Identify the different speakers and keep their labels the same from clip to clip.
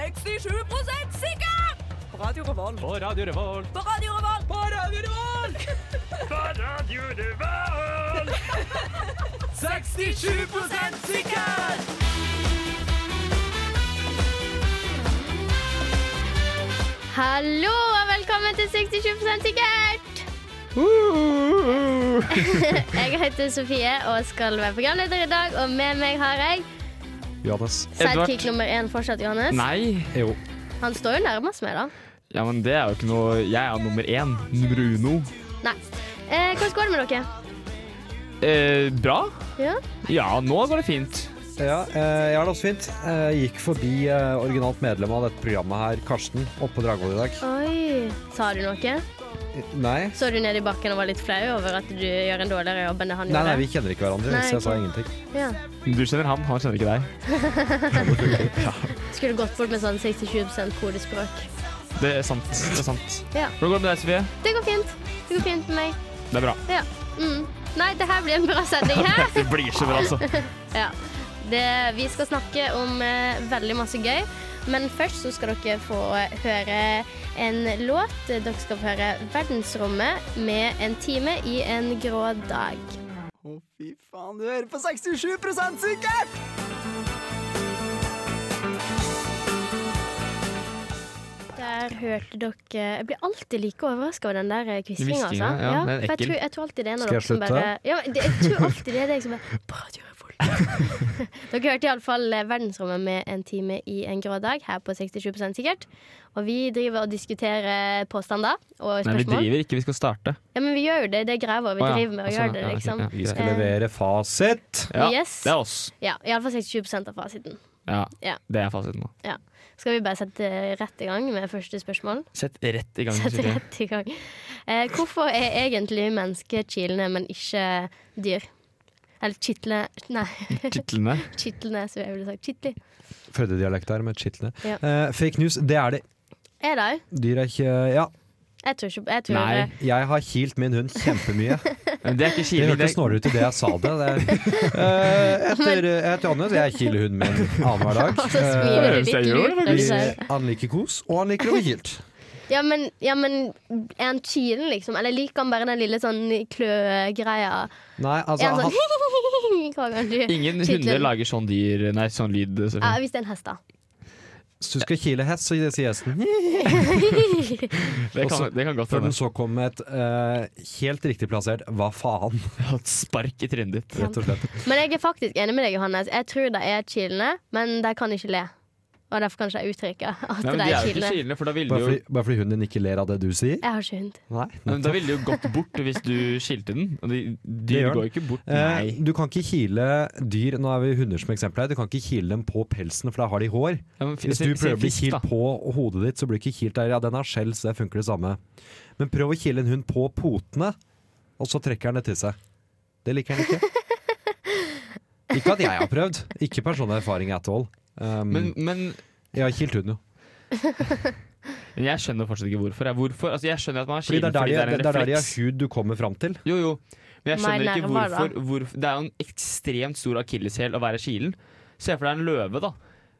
Speaker 1: 67 sikker! På Radio Revolt.
Speaker 2: På Radio Revolt.
Speaker 1: På Radio Revolt. På Radio Revolt!
Speaker 2: 67
Speaker 1: sikker!
Speaker 3: Hallo og velkommen til 67 sikkert! Jeg heter Sofie og skal være programleder i dag, og med meg har jeg
Speaker 4: Johannes.
Speaker 3: sidekick nummer én fortsatt, Johannes.
Speaker 2: Nei.
Speaker 4: Jo.
Speaker 3: Han står jo nærmest meg, da.
Speaker 2: Ja, men det er jo ikke noe Jeg er nummer én. Nummer uno.
Speaker 3: Nei. Eh, hvordan går det med dere?
Speaker 2: Eh, bra.
Speaker 3: Ja?
Speaker 2: Ja, nå går det fint.
Speaker 4: Ja, eh, jeg har det også fint. Eh, gikk forbi eh, originalt medlem av dette programmet her, Karsten, oppe på Dragvoll i dag.
Speaker 3: Oi. Sa du noe?
Speaker 4: Nei.
Speaker 3: Så du ned i bakken og var litt flau over at du gjør en dårligere jobb enn det han
Speaker 4: Nei, nei,
Speaker 3: gjorde?
Speaker 4: vi kjenner ikke hverandre,
Speaker 3: Nei,
Speaker 4: så jeg sa
Speaker 3: ikke.
Speaker 4: ingenting.
Speaker 3: Ja.
Speaker 2: Du kjenner han, han kjenner ikke deg.
Speaker 3: Skulle gått bort med sånn 67 kodespråk.
Speaker 2: Det er sant. det er sant.
Speaker 3: Ja.
Speaker 2: Hvordan går det med deg, Sofie?
Speaker 3: Det går fint. Det går fint med meg.
Speaker 2: Det er bra.
Speaker 3: Ja. Mm. Nei, det her blir en bra sending, hæ?
Speaker 2: Det blir så bra, altså.
Speaker 3: Ja. Det, vi skal snakke om eh, veldig masse gøy, men først så skal dere få høre en låt. Dere skal få høre 'Verdensrommet' med 'En time i en grå dag'.
Speaker 5: Å, fy faen, du hører på 67 sikkert!
Speaker 3: Der hørte dere Jeg blir alltid like overraska over den der kvislinga, altså.
Speaker 2: Hviskinga, ja, den er
Speaker 3: for jeg
Speaker 2: ekkel.
Speaker 3: tror, jeg tror alltid det er når
Speaker 4: Skal jeg
Speaker 3: dere som
Speaker 4: slutte?
Speaker 3: bare ja, men det, Jeg tror alltid det er deg som bare Bra, du er folk. Dere hørte iallfall eh, 'Verdensrommet' med 'En time i en grå dag' her på 67 sikkert. Og vi driver og diskuterer påstander og
Speaker 2: Nei, vi
Speaker 3: spørsmål.
Speaker 2: driver ikke. Vi skal starte.
Speaker 3: ja, men vi gjør jo det. Det er greia vår. Vi
Speaker 2: Å, ja.
Speaker 3: driver med å
Speaker 2: Altså,
Speaker 3: gjøre det,
Speaker 2: ja, ok,
Speaker 3: liksom.
Speaker 2: ja.
Speaker 4: Vi skal
Speaker 3: Eh,
Speaker 4: levere fasit.
Speaker 2: Ja,
Speaker 3: Yes.
Speaker 2: Det er oss.
Speaker 3: Ja, iallfall 67 av fasiten.
Speaker 2: Ja,
Speaker 3: Ja.
Speaker 2: Det er fasiten nå.
Speaker 3: Ja. Skal vi bare sette rett i gang med første spørsmål?
Speaker 2: Sett rett i gang.
Speaker 3: Sett
Speaker 2: Sofie.
Speaker 3: rett i gang. Eh, hvorfor er egentlig mennesket kilende, men ikke dyr? Eller kitle... Nei,
Speaker 2: Titlene.
Speaker 3: kitlende, som jeg ville sagt. Kitli.
Speaker 4: Fødedialekt her med skitlene.
Speaker 3: Ja.
Speaker 4: Eh, fake news, det er det.
Speaker 3: Er det òg?
Speaker 4: Dyr er ikke Ja,
Speaker 3: Jeg tror ikke jeg tror,
Speaker 2: Nei.
Speaker 4: jeg har kilt min hund kjempemye.
Speaker 2: Men det er ikke
Speaker 4: Det
Speaker 2: kiling.
Speaker 4: hørtes snålere ut i det jeg sa det. det er, Eh, etter, jeg heter Johannes, jeg kiler hunden min annenhver dag.
Speaker 3: Og så smiler du
Speaker 2: det
Speaker 3: litt
Speaker 2: ser jeg jo,
Speaker 3: lurt når du
Speaker 4: Eh,
Speaker 3: sier det.
Speaker 4: han liker kos, og han liker å bli kilt.
Speaker 3: Ja, men, ja, men er han kilen, liksom? Eller liker han bare den lille sånn kløgreia?
Speaker 4: Nei,
Speaker 3: Er
Speaker 4: altså
Speaker 3: han
Speaker 4: han,
Speaker 3: sånn Hva gang du
Speaker 2: Ingen
Speaker 3: Titlen.
Speaker 2: hunder lager sånn dyr Nei, sånn lyd.
Speaker 3: Ja,
Speaker 2: selvfølgelig.
Speaker 3: hvis det er en hest, da.
Speaker 4: Hvis du skal kile hest, så sier hesten
Speaker 2: Det kan,
Speaker 4: Også-
Speaker 2: det kan godt
Speaker 4: Før
Speaker 2: hende.
Speaker 4: den så kom med et eh, helt riktig plassert 'hva faen',
Speaker 2: Et Spark i trynet ditt.
Speaker 4: rett og slett.
Speaker 3: Men jeg er faktisk enig med deg, Johannes. Jeg tror de er kilende, men de kan ikke le. Og derfor kan ikke jeg uttrykke at
Speaker 2: Nei, men de
Speaker 3: de er
Speaker 2: er jo ikke
Speaker 3: kilende.
Speaker 2: kilende, for da ville
Speaker 4: Bare
Speaker 2: de jo
Speaker 4: fordi, bare fordi hunden din ikke ler av det du sier?
Speaker 3: Jeg har ikke hund.
Speaker 4: Nei.
Speaker 2: Men da ville de jo gått bort hvis du skilte den. Og de, de
Speaker 4: Det gjør den.
Speaker 2: går jo ikke bort.
Speaker 4: Eh,
Speaker 2: Nei.
Speaker 4: du kan ikke kile dyr Nå er vi hunder som eksempel her. Du kan ikke kile dem på pelsen, for da har de hår.
Speaker 2: Ja, men f-
Speaker 4: Hvis
Speaker 2: se-
Speaker 4: du
Speaker 2: se
Speaker 4: prøver å bli
Speaker 2: fisk,
Speaker 4: kilt
Speaker 2: da.
Speaker 4: på hodet ditt, så blir du ikke kilt der. Ja, den har skjell, så det funker det samme. Men prøv å kile en hund på potene, og så trekker han det til seg. Det liker han ikke. Ikke at jeg har prøvd. Ikke personlig erfaring at all. Um,
Speaker 2: Men, men,
Speaker 4: jeg har kilt hunden, jo.
Speaker 2: men jeg skjønner fortsatt ikke hvorfor. Jeg, hvorfor? Altså, jeg skjønner at man er
Speaker 4: Fordi det
Speaker 2: kilende
Speaker 4: er der
Speaker 2: fordi det er en
Speaker 4: de, det er der de har
Speaker 2: refleks.
Speaker 4: hud du kommer fram til.
Speaker 2: Jo, jo. Men jeg
Speaker 3: Mer
Speaker 2: skjønner ikke
Speaker 3: nerver,
Speaker 2: hvorfor,
Speaker 3: da.
Speaker 2: hvorfor Det er jo en ekstremt stor akilleshæl å være kilen. Se for deg en løve, da.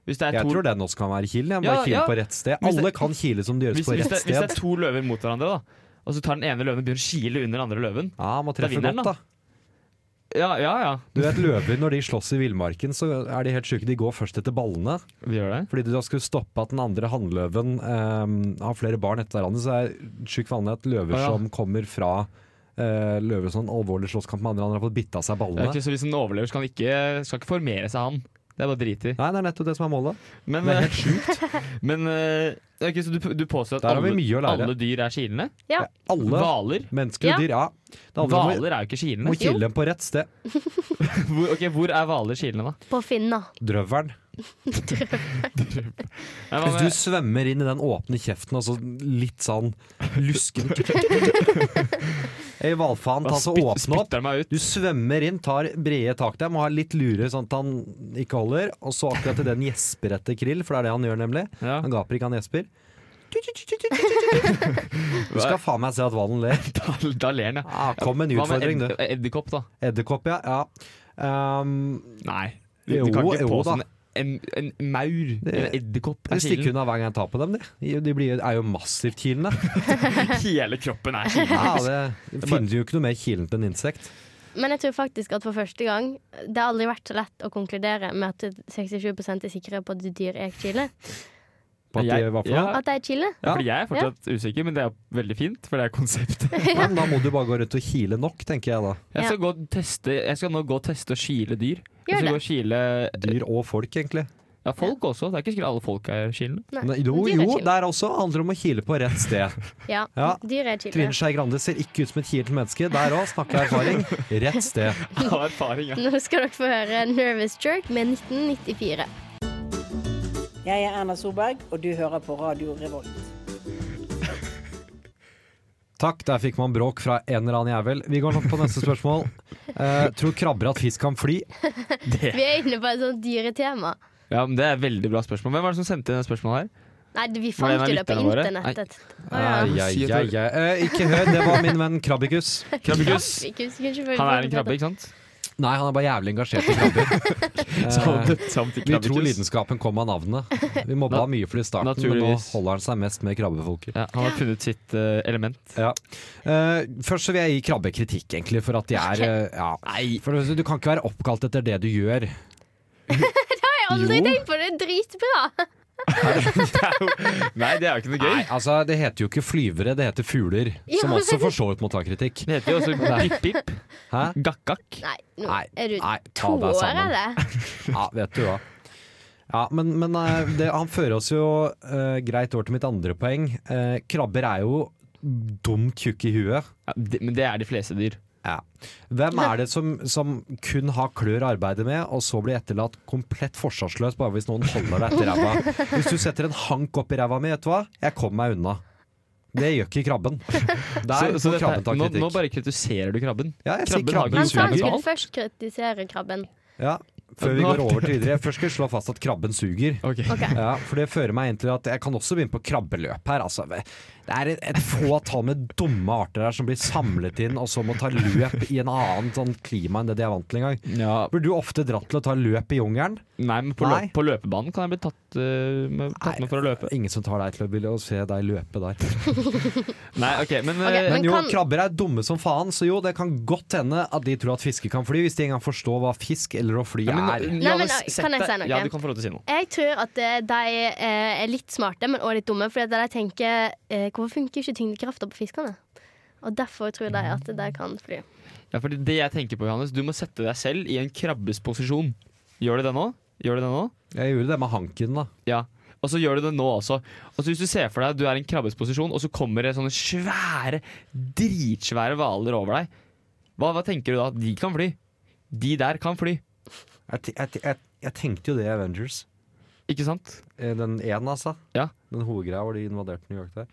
Speaker 2: Hvis det er
Speaker 4: Jeg
Speaker 2: to,
Speaker 4: tror den også kan være kilen. Jeg må
Speaker 2: Ja,
Speaker 4: bare kile
Speaker 2: ja.
Speaker 4: på rett sted.
Speaker 2: Hvis
Speaker 4: Alle
Speaker 2: det-
Speaker 4: kan kile som det gjøres
Speaker 2: hvis,
Speaker 4: på
Speaker 2: hvis,
Speaker 4: rett
Speaker 2: det, hvis det er
Speaker 4: sted.
Speaker 2: to løver mot hverandre, da. Og så tar den ene løven og begynner å kile under den andre løven.
Speaker 4: Ja, man
Speaker 2: Da
Speaker 4: treffer
Speaker 2: vinner den,
Speaker 4: godt, da.
Speaker 2: Ja, ja, ja.
Speaker 4: Du vet Løver når de slåss i villmarken, så er de helt sjuke. De går først etter ballene.
Speaker 2: Vi gjør det.
Speaker 4: Fordi du da skulle stoppe at den andre hannløven eh, har flere barn etter hverandre, så er det sjukt vanlig at løver
Speaker 2: Å, ja.
Speaker 4: som kommer fra eh, løver som en alvorlig slåsskamp med andre, han har fått bitt av seg
Speaker 2: det er
Speaker 4: ballene.
Speaker 2: ikke, så hvis den overlever, skal den ikke, skal ikke formere seg, han. Det er bare drit i.
Speaker 4: Nei, det er nettopp det som er målet.
Speaker 2: Men,
Speaker 4: Det
Speaker 2: eh,
Speaker 4: er helt sjukt.
Speaker 2: men eh, ok, så du, du påstår at
Speaker 4: Der har vi
Speaker 2: alle,
Speaker 4: mye å lære.
Speaker 2: alle dyr er kilende?
Speaker 3: Ja.
Speaker 4: Alle
Speaker 2: Hvaler?
Speaker 4: mennesker
Speaker 3: Ja.
Speaker 4: og dyr, ja. Det handler om
Speaker 2: Hvaler er jo ikke
Speaker 4: å-
Speaker 2: kilende.
Speaker 4: Må kile dem på rett sted.
Speaker 2: Hvor, ok, hvor er hvaler kilende, da?
Speaker 3: På finna.
Speaker 4: Drøvelen.
Speaker 2: Nei, hva
Speaker 4: Hvis
Speaker 2: med-
Speaker 4: du svømmer inn i den åpne kjeften og så litt sånn lusken Ei, hvalfaen, ta så
Speaker 2: spyt-
Speaker 4: åpne opp.
Speaker 2: spytter den meg ut.
Speaker 4: Du svømmer inn, tar brede tak der, må ha litt lure sånn at han ikke holder. Og så akkurat idet han gjesper etter krill, for det er det han gjør, nemlig.
Speaker 2: Ja.
Speaker 4: Han gaper ikke, han gjesper. Du skal faen meg se at hvalen ler.
Speaker 2: Da, da ler den, ja.
Speaker 4: Ah, kom med en
Speaker 2: Hva med
Speaker 4: utfordring,
Speaker 2: ed-
Speaker 4: du.
Speaker 2: edderkopp, da?
Speaker 4: Edderkopp, ja. ja. Um,
Speaker 2: Nei.
Speaker 4: Jo, jo da.
Speaker 2: en, en maur eller en edderkopp
Speaker 4: De
Speaker 2: er
Speaker 4: stikker
Speaker 2: kilen.
Speaker 4: unna hver gang jeg tar på dem. De, de blir, er jo massivt kilende.
Speaker 2: Hele kroppen er kilen.
Speaker 4: Ja, det, det finnes jo ikke noe mer kilent enn insekt.
Speaker 3: Men jeg tror faktisk at for første gang Det har aldri vært så lett å konkludere med at 67 er sikre på at dyr er chile.
Speaker 4: På at de,
Speaker 2: Jeg-
Speaker 4: hva for
Speaker 2: ja.
Speaker 4: noe?
Speaker 3: At de er chile.
Speaker 2: Ja, fordi jeg er fortsatt usikker, men det er veldig fint, for det er konseptet.
Speaker 4: Men da må du bare gå rundt og kile nok, tenker jeg da.
Speaker 2: Jeg skal, gå og teste, jeg skal nå gå og teste og kile dyr.
Speaker 3: Gjør
Speaker 2: Jeg skal
Speaker 3: det.
Speaker 2: gå og kile
Speaker 4: Dyr og folk, egentlig.
Speaker 2: ja, folk også. Det er ikke sikkert alle folk er kilende.
Speaker 4: Nei, jo,
Speaker 3: dyr er
Speaker 4: jo,
Speaker 3: chile.
Speaker 4: der også handler det om å kile på rett sted.
Speaker 3: Ja,
Speaker 4: Ja.
Speaker 3: dyr er chile.
Speaker 4: Trine Skei Grande ser ikke ut som et kilent menneske. Der òg, snakker erfaring. Rett sted.
Speaker 2: Av erfaring, ja.
Speaker 3: Nå skal dere få høre 'Nervous Jerk' med 1994.
Speaker 6: Jeg er Erna Solberg, og du hører på Radio Revolt.
Speaker 4: Takk, der fikk man bråk fra en eller annen jævel. Vi går nå på neste spørsmål. Eh, tror krabber at fisk kan fly?
Speaker 3: Vi er inne på et sånt dyretema.
Speaker 2: ja men det er et veldig bra spørsmål. Hvem var det som sendte inn det spørsmålet her?
Speaker 3: Nei, vi
Speaker 2: Var det en
Speaker 3: fant
Speaker 2: av
Speaker 3: jo det på
Speaker 2: lytterne våre?
Speaker 3: internettet. Å, ja.
Speaker 4: Ai, ai, ai, ai. Eh, ikke hør, det var min venn Krabbekus.
Speaker 2: Krabbegus.
Speaker 3: Vi kunne- vi kunne ikke få-
Speaker 2: Han er en krabbe, ikke sant?
Speaker 4: Nei, han er bare jævlig engasjert i krabber. Eh, vi tror lidenskapen kom av navnet. Vi mobba
Speaker 2: Na-
Speaker 4: han mye for det i starten, men nå
Speaker 2: Naturligvis.
Speaker 4: holder han seg mest med krabbefolket.
Speaker 2: Ja, han har funnet sitt eh, element.
Speaker 4: Ja. Eh, først så vil jeg gi krabber kritikk, egentlig, for at de er eh, ja. For det første, du kan ikke være oppkalt etter det du gjør.
Speaker 3: Jeg har aldri
Speaker 4: Jo.
Speaker 3: tenkt på det! Dritbra!
Speaker 2: Nei, det er jo ikke noe
Speaker 4: Nei,
Speaker 2: gøy.
Speaker 4: altså, det heter jo ikke flyvere, det heter fugler.
Speaker 3: Ja,
Speaker 4: Som også
Speaker 3: men-
Speaker 4: for så vidt må ta kritikk.
Speaker 2: Det heter jo også pip-pip.
Speaker 4: Hæ?
Speaker 2: Gakk-gakk.
Speaker 3: Nei, nå
Speaker 4: Nei,
Speaker 3: er du
Speaker 4: nei,
Speaker 3: to
Speaker 4: ta deg
Speaker 3: år,
Speaker 4: sammen.
Speaker 3: eller?
Speaker 4: Ja, vet du hva. Ja, men, men eh, det, han fører oss jo eh, greit over til mitt andre poeng. Eh, krabber er jo dumt tjukke i huet.
Speaker 2: Ja, det- men det er de fleste dyr.
Speaker 4: Ja. Hvem er det som, som kun har klør å arbeide med, og så blir etterlatt komplett forsvarsløs bare hvis noen holder deg etter ræva? Hvis du setter en hank opp i ræva mi, vet du hva, jeg kommer meg unna. Det gjør ikke krabben.
Speaker 2: Så- så
Speaker 4: Der får
Speaker 2: dette er-
Speaker 4: krabben ta
Speaker 2: nå, nå
Speaker 4: kritikk.
Speaker 2: bare kritiserer du krabben.
Speaker 4: Ja, jeg
Speaker 2: krabben har
Speaker 4: sier
Speaker 2: ikke
Speaker 4: krabben
Speaker 3: Men
Speaker 2: suger
Speaker 3: han
Speaker 4: suger.
Speaker 2: betalt.
Speaker 3: skulle først kritisere krabben.
Speaker 4: Ja, før vi går over til videre. Først skal jeg slå fast at krabben suger.
Speaker 2: Ok.
Speaker 3: Ok.
Speaker 4: Ja, for det fører meg inn til at jeg kan også begynne på krabbeløp her. Altså, det er et, et fåtall med dumme arter her som blir samlet inn, og så må ta løp i en annen sånn klima enn det de er vant til engang.
Speaker 2: Ja,
Speaker 4: Burde du ofte dratt til å ta løp i jungelen?
Speaker 2: Nei, men på,
Speaker 4: Nei.
Speaker 2: løp, på løpebanen kan jeg bli tatt, eh, med, tatt med for å løpe.
Speaker 4: Ingen som tar deg til å ville å se deg løpe der.
Speaker 2: Nei, ok, men,
Speaker 3: Ok,
Speaker 2: eh,
Speaker 4: Men jo,
Speaker 3: kan-
Speaker 4: krabber er dumme som faen, så jo, det kan godt hende at de tror at fisker kan fly, hvis de engang forstår hva fisk eller å fly
Speaker 2: ja,
Speaker 4: er.
Speaker 2: men,
Speaker 3: Nei, men,
Speaker 2: Johannes,
Speaker 3: kan
Speaker 2: sett
Speaker 3: jeg
Speaker 2: deg-
Speaker 3: si noe?
Speaker 2: Ja, du kan få lov til å si noe.
Speaker 3: Jeg tror at eh, de eh, er litt smarte, men også litt dumme. Fordi at de tenker eh, Hvorfor funker ikke tyngdekrafta på fiskene? Og derfor tror de at de kan fly.
Speaker 2: Ja, fordi det jeg tenker på, Johannes, du må sette deg selv i en krabbes posisjon. Gjør du det nå? Gjør du det nå?
Speaker 4: Jeg gjorde det med hanken, da.
Speaker 2: Ja. Og så gjør du det nå også. Og så hvis du ser for deg at du er i en krabbes posisjon, og så kommer det sånne svære, dritsvære hvaler over deg, hva, hva tenker du da? De kan fly. De der kan fly.
Speaker 4: Jeg, te- jeg, te- jeg, jeg tenkte jo det i Avengers.
Speaker 2: Ikke sant?
Speaker 4: Eh, Den én, altså.
Speaker 2: Ja.
Speaker 4: Den hovedgreia hvor de invaderte New York der.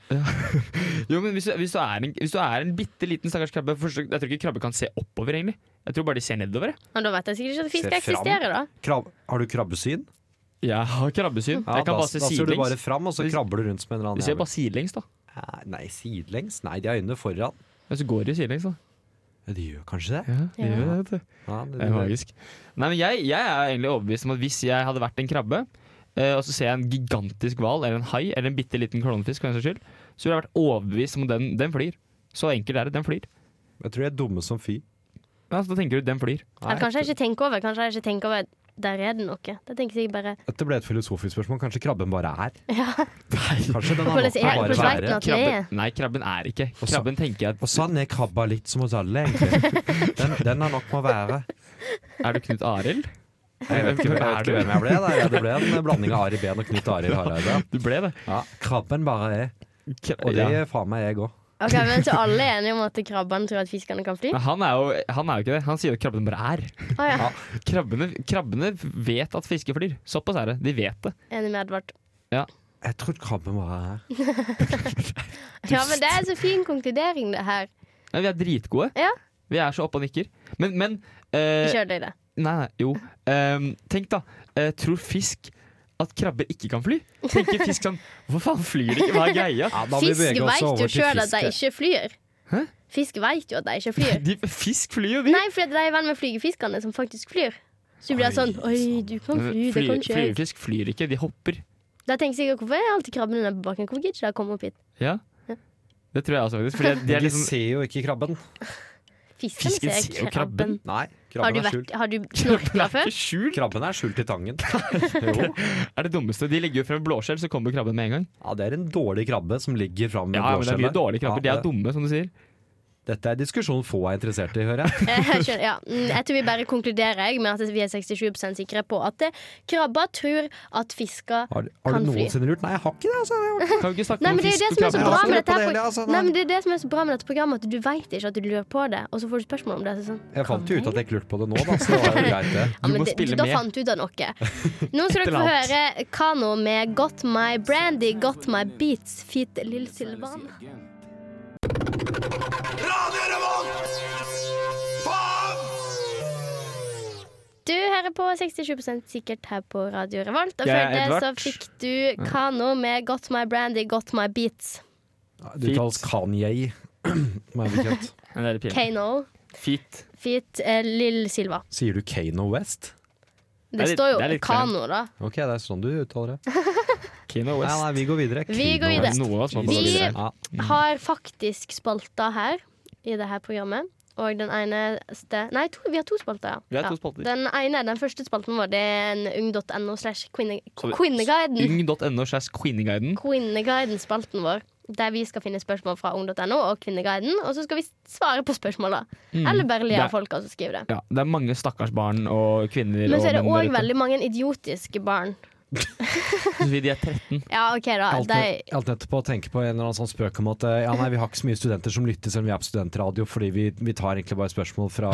Speaker 2: Jo, men hvis du, hvis du, er, en, hvis du er en bitte liten stakkars krabbe først, Jeg tror ikke krabber kan se oppover, egentlig. Jeg tror bare de ser nedover. jeg.
Speaker 3: Men da vet jeg sikkert ikke at fisk
Speaker 4: Se fram.
Speaker 3: eksisterer, da.
Speaker 4: Krab har du krabbesyn?
Speaker 2: Jeg har krabbesyn.
Speaker 4: Ja,
Speaker 2: jeg kan
Speaker 4: da,
Speaker 2: bare se
Speaker 4: da ser du bare
Speaker 2: sidelengs.
Speaker 4: fram, og så
Speaker 2: Hvis-
Speaker 4: krabber du rundt som en
Speaker 2: Du
Speaker 4: eller annen
Speaker 2: ser
Speaker 4: jævel.
Speaker 2: bare sidelengs, da.
Speaker 4: Nei, Nei, sidelengs? Nei, de har øynene foran.
Speaker 2: Ja, så går de sidelengs, da.
Speaker 4: Ja, de gjør kanskje det?
Speaker 2: Ja, de
Speaker 3: Ja.
Speaker 2: gjør det, vet du.
Speaker 4: Ja, det,
Speaker 2: Det er magisk. Nei, men jeg, jeg er egentlig overbevist om at hvis jeg hadde vært en krabbe, eh, og så ser jeg en gigantisk hval eller en hai eller en bitte liten klovnefisk, for den saks skyld, så ville jeg vært overbevist om at den, den flyr. Så enkelt er det. Den flyr.
Speaker 4: Jeg tror de er dumme som fy.
Speaker 2: Ja, så da tenker du den flyr.
Speaker 4: Nei,
Speaker 3: Eller kanskje jeg ikke tenker over Kanskje jeg ikke tenker over Der er det noe. Da tenker jeg bare
Speaker 4: Dette ble et filosofisk spørsmål. Kanskje krabben bare er?
Speaker 2: Nei,
Speaker 4: Kanskje den har
Speaker 3: Hvordan
Speaker 4: latt den
Speaker 3: er-
Speaker 4: bare
Speaker 3: hvordan vet den at-
Speaker 4: være?
Speaker 3: det er.
Speaker 2: krabben, nei, krabben er ikke.
Speaker 4: Og så-
Speaker 2: Krabben tenker jeg
Speaker 4: Og sånn er krabba litt som oss alle, egentlig. Den, den har nok med å være.
Speaker 2: Er du Knut Arild?
Speaker 4: Jeg vet ikke, jeg vet ikke hvem jeg ble. Da. Ja, Det ble en blanding av Ari Behn og Knut Arild Hareide.
Speaker 2: Du ble det.
Speaker 4: Ja, krabben bare er.
Speaker 2: Kra-
Speaker 4: Og det
Speaker 2: ja.
Speaker 4: er faen meg jeg òg.
Speaker 3: OK, men så alle er enige om at krabbene tror at fiskene kan fly?
Speaker 2: Men han er, jo, han er jo ikke det. Han sier at krabben bare er.
Speaker 3: Å ja.
Speaker 2: Krabbene, krabbene vet at fisker flyr. Såpass er det. De vet det.
Speaker 3: Enig med Edvard.
Speaker 4: Jeg tror krabben bare er.
Speaker 3: Ja, men det er så fin konkludering, det her.
Speaker 4: Eh,
Speaker 2: Nei, vi er dritgode.
Speaker 3: Ja.
Speaker 2: Vi er så oppe og nikker. Men, men eh,
Speaker 3: Kjør deg det.
Speaker 2: Nei, nei, jo. Ehm, tenk, da. Eh, tror fisk at krabber ikke kan fly? Tenker fisk sånn Hvor faen flyr de ikke? Hva er greia?
Speaker 4: Ja, da må vi
Speaker 3: Fisk
Speaker 4: bevege oss
Speaker 3: vet jo
Speaker 4: over til
Speaker 3: sjøl at de
Speaker 4: fisk.
Speaker 3: ikke flyr.
Speaker 2: Hæ?
Speaker 3: Fisk vet jo at de ikke flyr.
Speaker 2: De, fisk flyr jo, de.
Speaker 3: Nei, for de er venn med flygefiskene som faktisk flyr. Så du blir sånn
Speaker 4: Oi,
Speaker 3: Oi, du kan
Speaker 2: Men
Speaker 3: fly, det
Speaker 2: flyr-
Speaker 3: kan ikke jeg.
Speaker 2: Flyverfisk flyr ikke, de hopper.
Speaker 3: Da tenker jeg sikkert hvorfor er alltid krabben under på bakken? Hvorfor gidder ikke de komme opp hit?
Speaker 2: Ja. Det tror jeg også, faktisk. Fordi de
Speaker 4: De
Speaker 2: er litt sånn
Speaker 4: ser jo ikke krabben.
Speaker 3: Fisken
Speaker 2: Fisken
Speaker 3: ser
Speaker 2: ser jo
Speaker 3: krabben.
Speaker 2: krabben.
Speaker 4: Nei,
Speaker 3: Har du,
Speaker 4: krabben er
Speaker 3: vært,
Speaker 4: skjult.
Speaker 3: har du snorkla før?
Speaker 2: skjult.
Speaker 4: Krabben er skjult i tangen. Jo.
Speaker 2: er det dummeste. De ligger jo fra blåskjell, så kommer krabben med en gang.
Speaker 4: Ja, det er en dårlig krabbe som ligger fram med
Speaker 2: Ja, men det er mye dårlige krabber. De
Speaker 4: Ja,
Speaker 2: er dumme, som du sier.
Speaker 4: Dette er diskusjon få er interessert i, hører jeg.
Speaker 3: Eh, jeg skjønner, ja. Mm, Jeg tror vi bare konkluderer jeg, med at vi er 67 sikre på at eh, krabber tror at fisker
Speaker 4: Har, har
Speaker 3: Kan
Speaker 4: du
Speaker 3: fly.
Speaker 4: noensinne lurt Nei, jeg har ikke det, altså. Jeg-
Speaker 2: Kan vi ikke snakke
Speaker 3: Nei,
Speaker 2: om
Speaker 3: men det er jo
Speaker 2: fisk
Speaker 3: det
Speaker 2: og
Speaker 3: som er så
Speaker 2: krabber?
Speaker 3: bra
Speaker 4: Jeg
Speaker 3: med
Speaker 4: har
Speaker 3: dette
Speaker 4: ikke
Speaker 3: her
Speaker 4: lurt på det heller, altså,
Speaker 3: pro-
Speaker 4: nei.
Speaker 3: Nei, men det er det som er så bra med dette programmet, at du vet ikke at du lurer på det, og så får du spørsmål om det. Så sånn.
Speaker 4: Jeg fant jo ut at jeg ikke lurte på det nå, da, så det var jo greit, det.
Speaker 3: Ja,
Speaker 2: Du
Speaker 3: men
Speaker 2: må
Speaker 3: det-
Speaker 2: spille
Speaker 3: Da
Speaker 2: med.
Speaker 3: fant du ut av noe. Nå skal
Speaker 2: Et eller
Speaker 3: dere få
Speaker 2: annet.
Speaker 3: høre Kano med Got My Brandy, Got My Beats, Fit Lill Silvan. Du hører på 67 sikkert her på Radio Revolt, og
Speaker 2: Jeg
Speaker 3: før
Speaker 2: er
Speaker 3: det så
Speaker 2: Edvard.
Speaker 3: fikk du Kano med Got My Brandy, Got My Beats.
Speaker 4: Det uttales Kanye, meg bekjent.
Speaker 2: Den der pilen.
Speaker 3: Kano,
Speaker 2: Feet.
Speaker 3: Fit eh, Lill Silva.
Speaker 4: Sier du Kano West?
Speaker 3: Det,
Speaker 2: Det er litt-
Speaker 3: står
Speaker 2: det er
Speaker 3: jo
Speaker 2: litt kleint.
Speaker 3: Kano, da.
Speaker 4: Ok, det er sånn du uttaler det.
Speaker 2: Kino
Speaker 4: Nei,
Speaker 2: West.
Speaker 4: nei, vi går videre.
Speaker 3: Vi
Speaker 4: Kano
Speaker 3: går videre.
Speaker 4: West.
Speaker 2: Noe av oss må
Speaker 3: Vi-
Speaker 2: gå videre.
Speaker 4: Ja.
Speaker 3: har faktisk spalter her i det her programmet. Og den eneste Nei, to, vi har to spalter.
Speaker 2: Vi
Speaker 3: ja.
Speaker 2: har to
Speaker 3: ja.
Speaker 2: spalter.
Speaker 3: Den ene, den første spalten vår, det er en ung.no slash kvinne-
Speaker 2: Så-
Speaker 3: Kvinneguiden.
Speaker 2: Ung.no slash Queenieguiden.
Speaker 3: Kvinneguiden-spalten vår. Der vi skal finne spørsmål fra ung.no og Kvinneguiden, og så skal vi svare på spørsmåla. Eller bare le av
Speaker 2: Mm. Det-
Speaker 3: folka som skriver det.
Speaker 2: Ja, det er mange stakkars barn og kvinner
Speaker 3: Men
Speaker 2: og
Speaker 3: så er det
Speaker 2: menn der
Speaker 3: òg
Speaker 2: ute.
Speaker 3: veldig mange idiotiske barn.
Speaker 2: Fordi de er 13.
Speaker 3: Ja, OK, da.
Speaker 4: Alt,
Speaker 3: De,
Speaker 4: nett- alt nettopp å tenke på en eller annen sånn spøk om at eh, ja, nei, vi har ikke så mye studenter som lytter selv om vi er på studentradio, fordi vi, vi tar egentlig bare spørsmål fra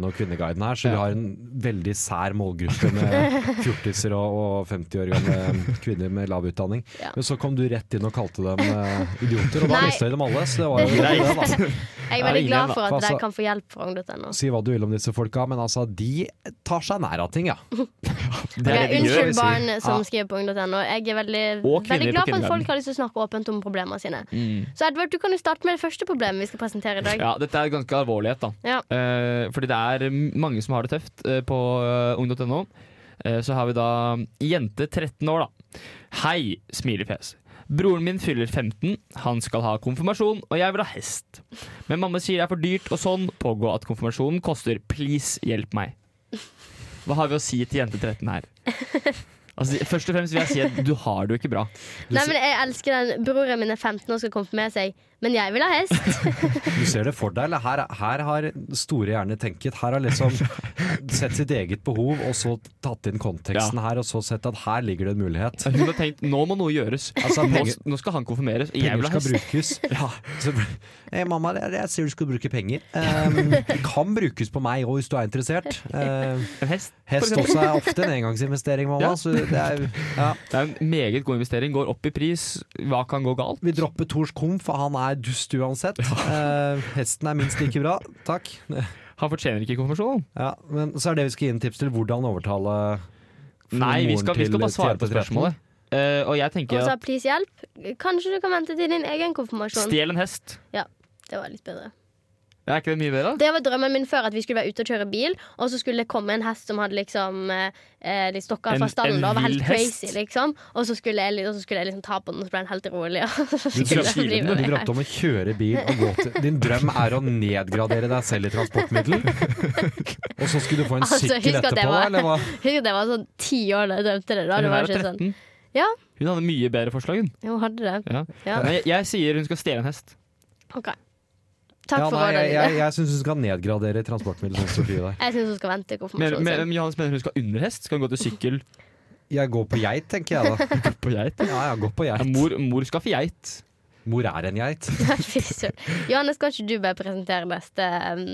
Speaker 4: .no og Kvinneguiden her, så vi
Speaker 2: Ja.
Speaker 4: har en veldig sær målgruppe med fjortiser og, og 50 år gamle kvinner med lav utdanning.
Speaker 3: Ja.
Speaker 4: Men så kom du rett inn og kalte dem eh, idioter, og da
Speaker 3: Nei.
Speaker 4: mista vi dem alle, så det var jo det, da.
Speaker 3: jeg er
Speaker 2: Ja,
Speaker 3: veldig
Speaker 2: ingen
Speaker 3: glad for
Speaker 4: da.
Speaker 3: at de
Speaker 4: Altså-
Speaker 3: kan få hjelp fra ung.no.
Speaker 4: Si hva du vil om disse folka, men altså, de tar seg nær av ting, ja.
Speaker 2: Det er det
Speaker 3: Ok,
Speaker 2: vi gjør.
Speaker 3: unnskyld barn som
Speaker 4: Ja.
Speaker 3: skriver på ung.no. Jeg er veldig,
Speaker 2: Og kvinner på
Speaker 3: veldig glad for at
Speaker 2: kvinneverden.
Speaker 3: folk har lyst til å snakke åpent om problemene sine.
Speaker 2: Mm.
Speaker 3: Så Edvard, du kan jo starte med det første problemet vi skal presentere i dag.
Speaker 2: Ja, dette er ganske alvorlighet, da.
Speaker 3: Ja.
Speaker 2: Eh, fordi det er mange som har det tøft eh, på eh, ung.no. Eh, så har vi da jente 13 år, da. Hei, smilefjes. Broren min fyller 15, han skal ha konfirmasjon, og jeg vil ha hest. Men mamma sier det er for dyrt og sånn, pågå at konfirmasjonen koster. Please, hjelp meg. Hva har vi å si til jente 13 her? Altså, først og fremst vil jeg si at du har det jo ikke bra.
Speaker 3: Nei, men jeg elsker den. Broren min er 15 og skal konfirmere seg, men jeg vil ha hest.
Speaker 4: Du ser det for deg, eller? Her, her har store hjerner tenket. Her har liksom sett sitt eget behov, og så tatt inn konteksten her, og så sett at her ligger det en mulighet.
Speaker 2: Hun har tenkt nå må noe gjøres.
Speaker 4: Altså,
Speaker 2: nå,
Speaker 4: penger-
Speaker 2: nå skal han konfirmeres. og Jeg
Speaker 4: Penger
Speaker 2: vil ha
Speaker 4: skal
Speaker 2: hest.
Speaker 4: brukes. Så, hey, mamma, jeg, jeg ser du skal bruke penger. Um, det kan brukes på meg òg, hvis du er interessert. Eh,
Speaker 2: En hest.
Speaker 4: hest også er ofte en engangsinvestering, mamma.
Speaker 2: Ja.
Speaker 4: Så det er, ja.
Speaker 2: Det er en meget god investering. Går opp i pris. Hva kan gå galt?
Speaker 4: Vi dropper Tors Komf, for han er dust uansett. Eh, hesten er minst like bra. Takk.
Speaker 2: Han fortjener ikke konfirmasjon.
Speaker 4: Ja, men så er det vi skal gi en tips til hvordan overtale
Speaker 2: Nei, vi
Speaker 4: moren
Speaker 2: skal, vi
Speaker 4: til
Speaker 2: skal bare svare på
Speaker 4: tjente 13.
Speaker 2: spørsmålet. Eh, og jeg
Speaker 3: Og
Speaker 2: tenker
Speaker 3: så
Speaker 2: at
Speaker 3: sånn- har please hjelp. Kanskje du kan vente til din egen konfirmasjon.
Speaker 2: stjel en hest.
Speaker 3: Det var litt bedre.
Speaker 2: Er ikke det mye bedre?
Speaker 3: Det var drømmen min før, at vi skulle være ute og kjøre bil, og så skulle det komme en hest som hadde liksom eh, eh, litt stokka
Speaker 2: En-
Speaker 3: fra stallen
Speaker 2: en
Speaker 3: da, og var helt
Speaker 2: vill hest?
Speaker 3: crazy, liksom. Og så skulle jeg, og så skulle jeg liksom ta på den, og så ble den helt rolig. og så
Speaker 4: Du
Speaker 3: skulle jeg
Speaker 2: drømte-
Speaker 3: drive
Speaker 4: drømte,
Speaker 3: med
Speaker 4: du
Speaker 3: det.
Speaker 4: drømte om å kjøre bil og gå til Din drøm er å nedgradere deg selv i transportmiddel. Og så skulle du få en
Speaker 3: Altså,
Speaker 4: sykkel
Speaker 3: husk at det
Speaker 4: etterpå,
Speaker 3: var-
Speaker 4: eller hva?
Speaker 3: Herregud, jeg var sånn ti år da jeg drømte det. da
Speaker 2: Hun
Speaker 3: det
Speaker 2: er
Speaker 3: var ikke sånn.
Speaker 2: 13.
Speaker 3: Ja.
Speaker 2: Hun hadde mye bedre forslag, hun.
Speaker 3: sånn. Jo, hadde det.
Speaker 2: Ja.
Speaker 3: Ja.
Speaker 2: Men jeg, jeg sier hun skal stjele en hest.
Speaker 3: OK. Takk
Speaker 4: ja,
Speaker 3: for
Speaker 4: nei,
Speaker 3: rådet.
Speaker 4: jeg jeg,
Speaker 3: Jeg,
Speaker 4: jeg syns hun skal nedgradere transportmiddel, sånn Sofie der.
Speaker 3: jeg syns hun skal vente
Speaker 2: Men,
Speaker 3: konfirmasjonen
Speaker 2: men,
Speaker 3: sin.
Speaker 2: men Johannes mener hun skal under hest. Skal hun gå til sykkel
Speaker 4: Jeg går på geit, tenker jeg da.
Speaker 2: på geit?
Speaker 4: Ja, jeg går på
Speaker 2: Ja,
Speaker 4: geit.
Speaker 2: mor, mor skaffer geit.
Speaker 4: Mor er en geit.
Speaker 3: Nei, fy søren. Johannes, kan ikke du bare presentere neste um...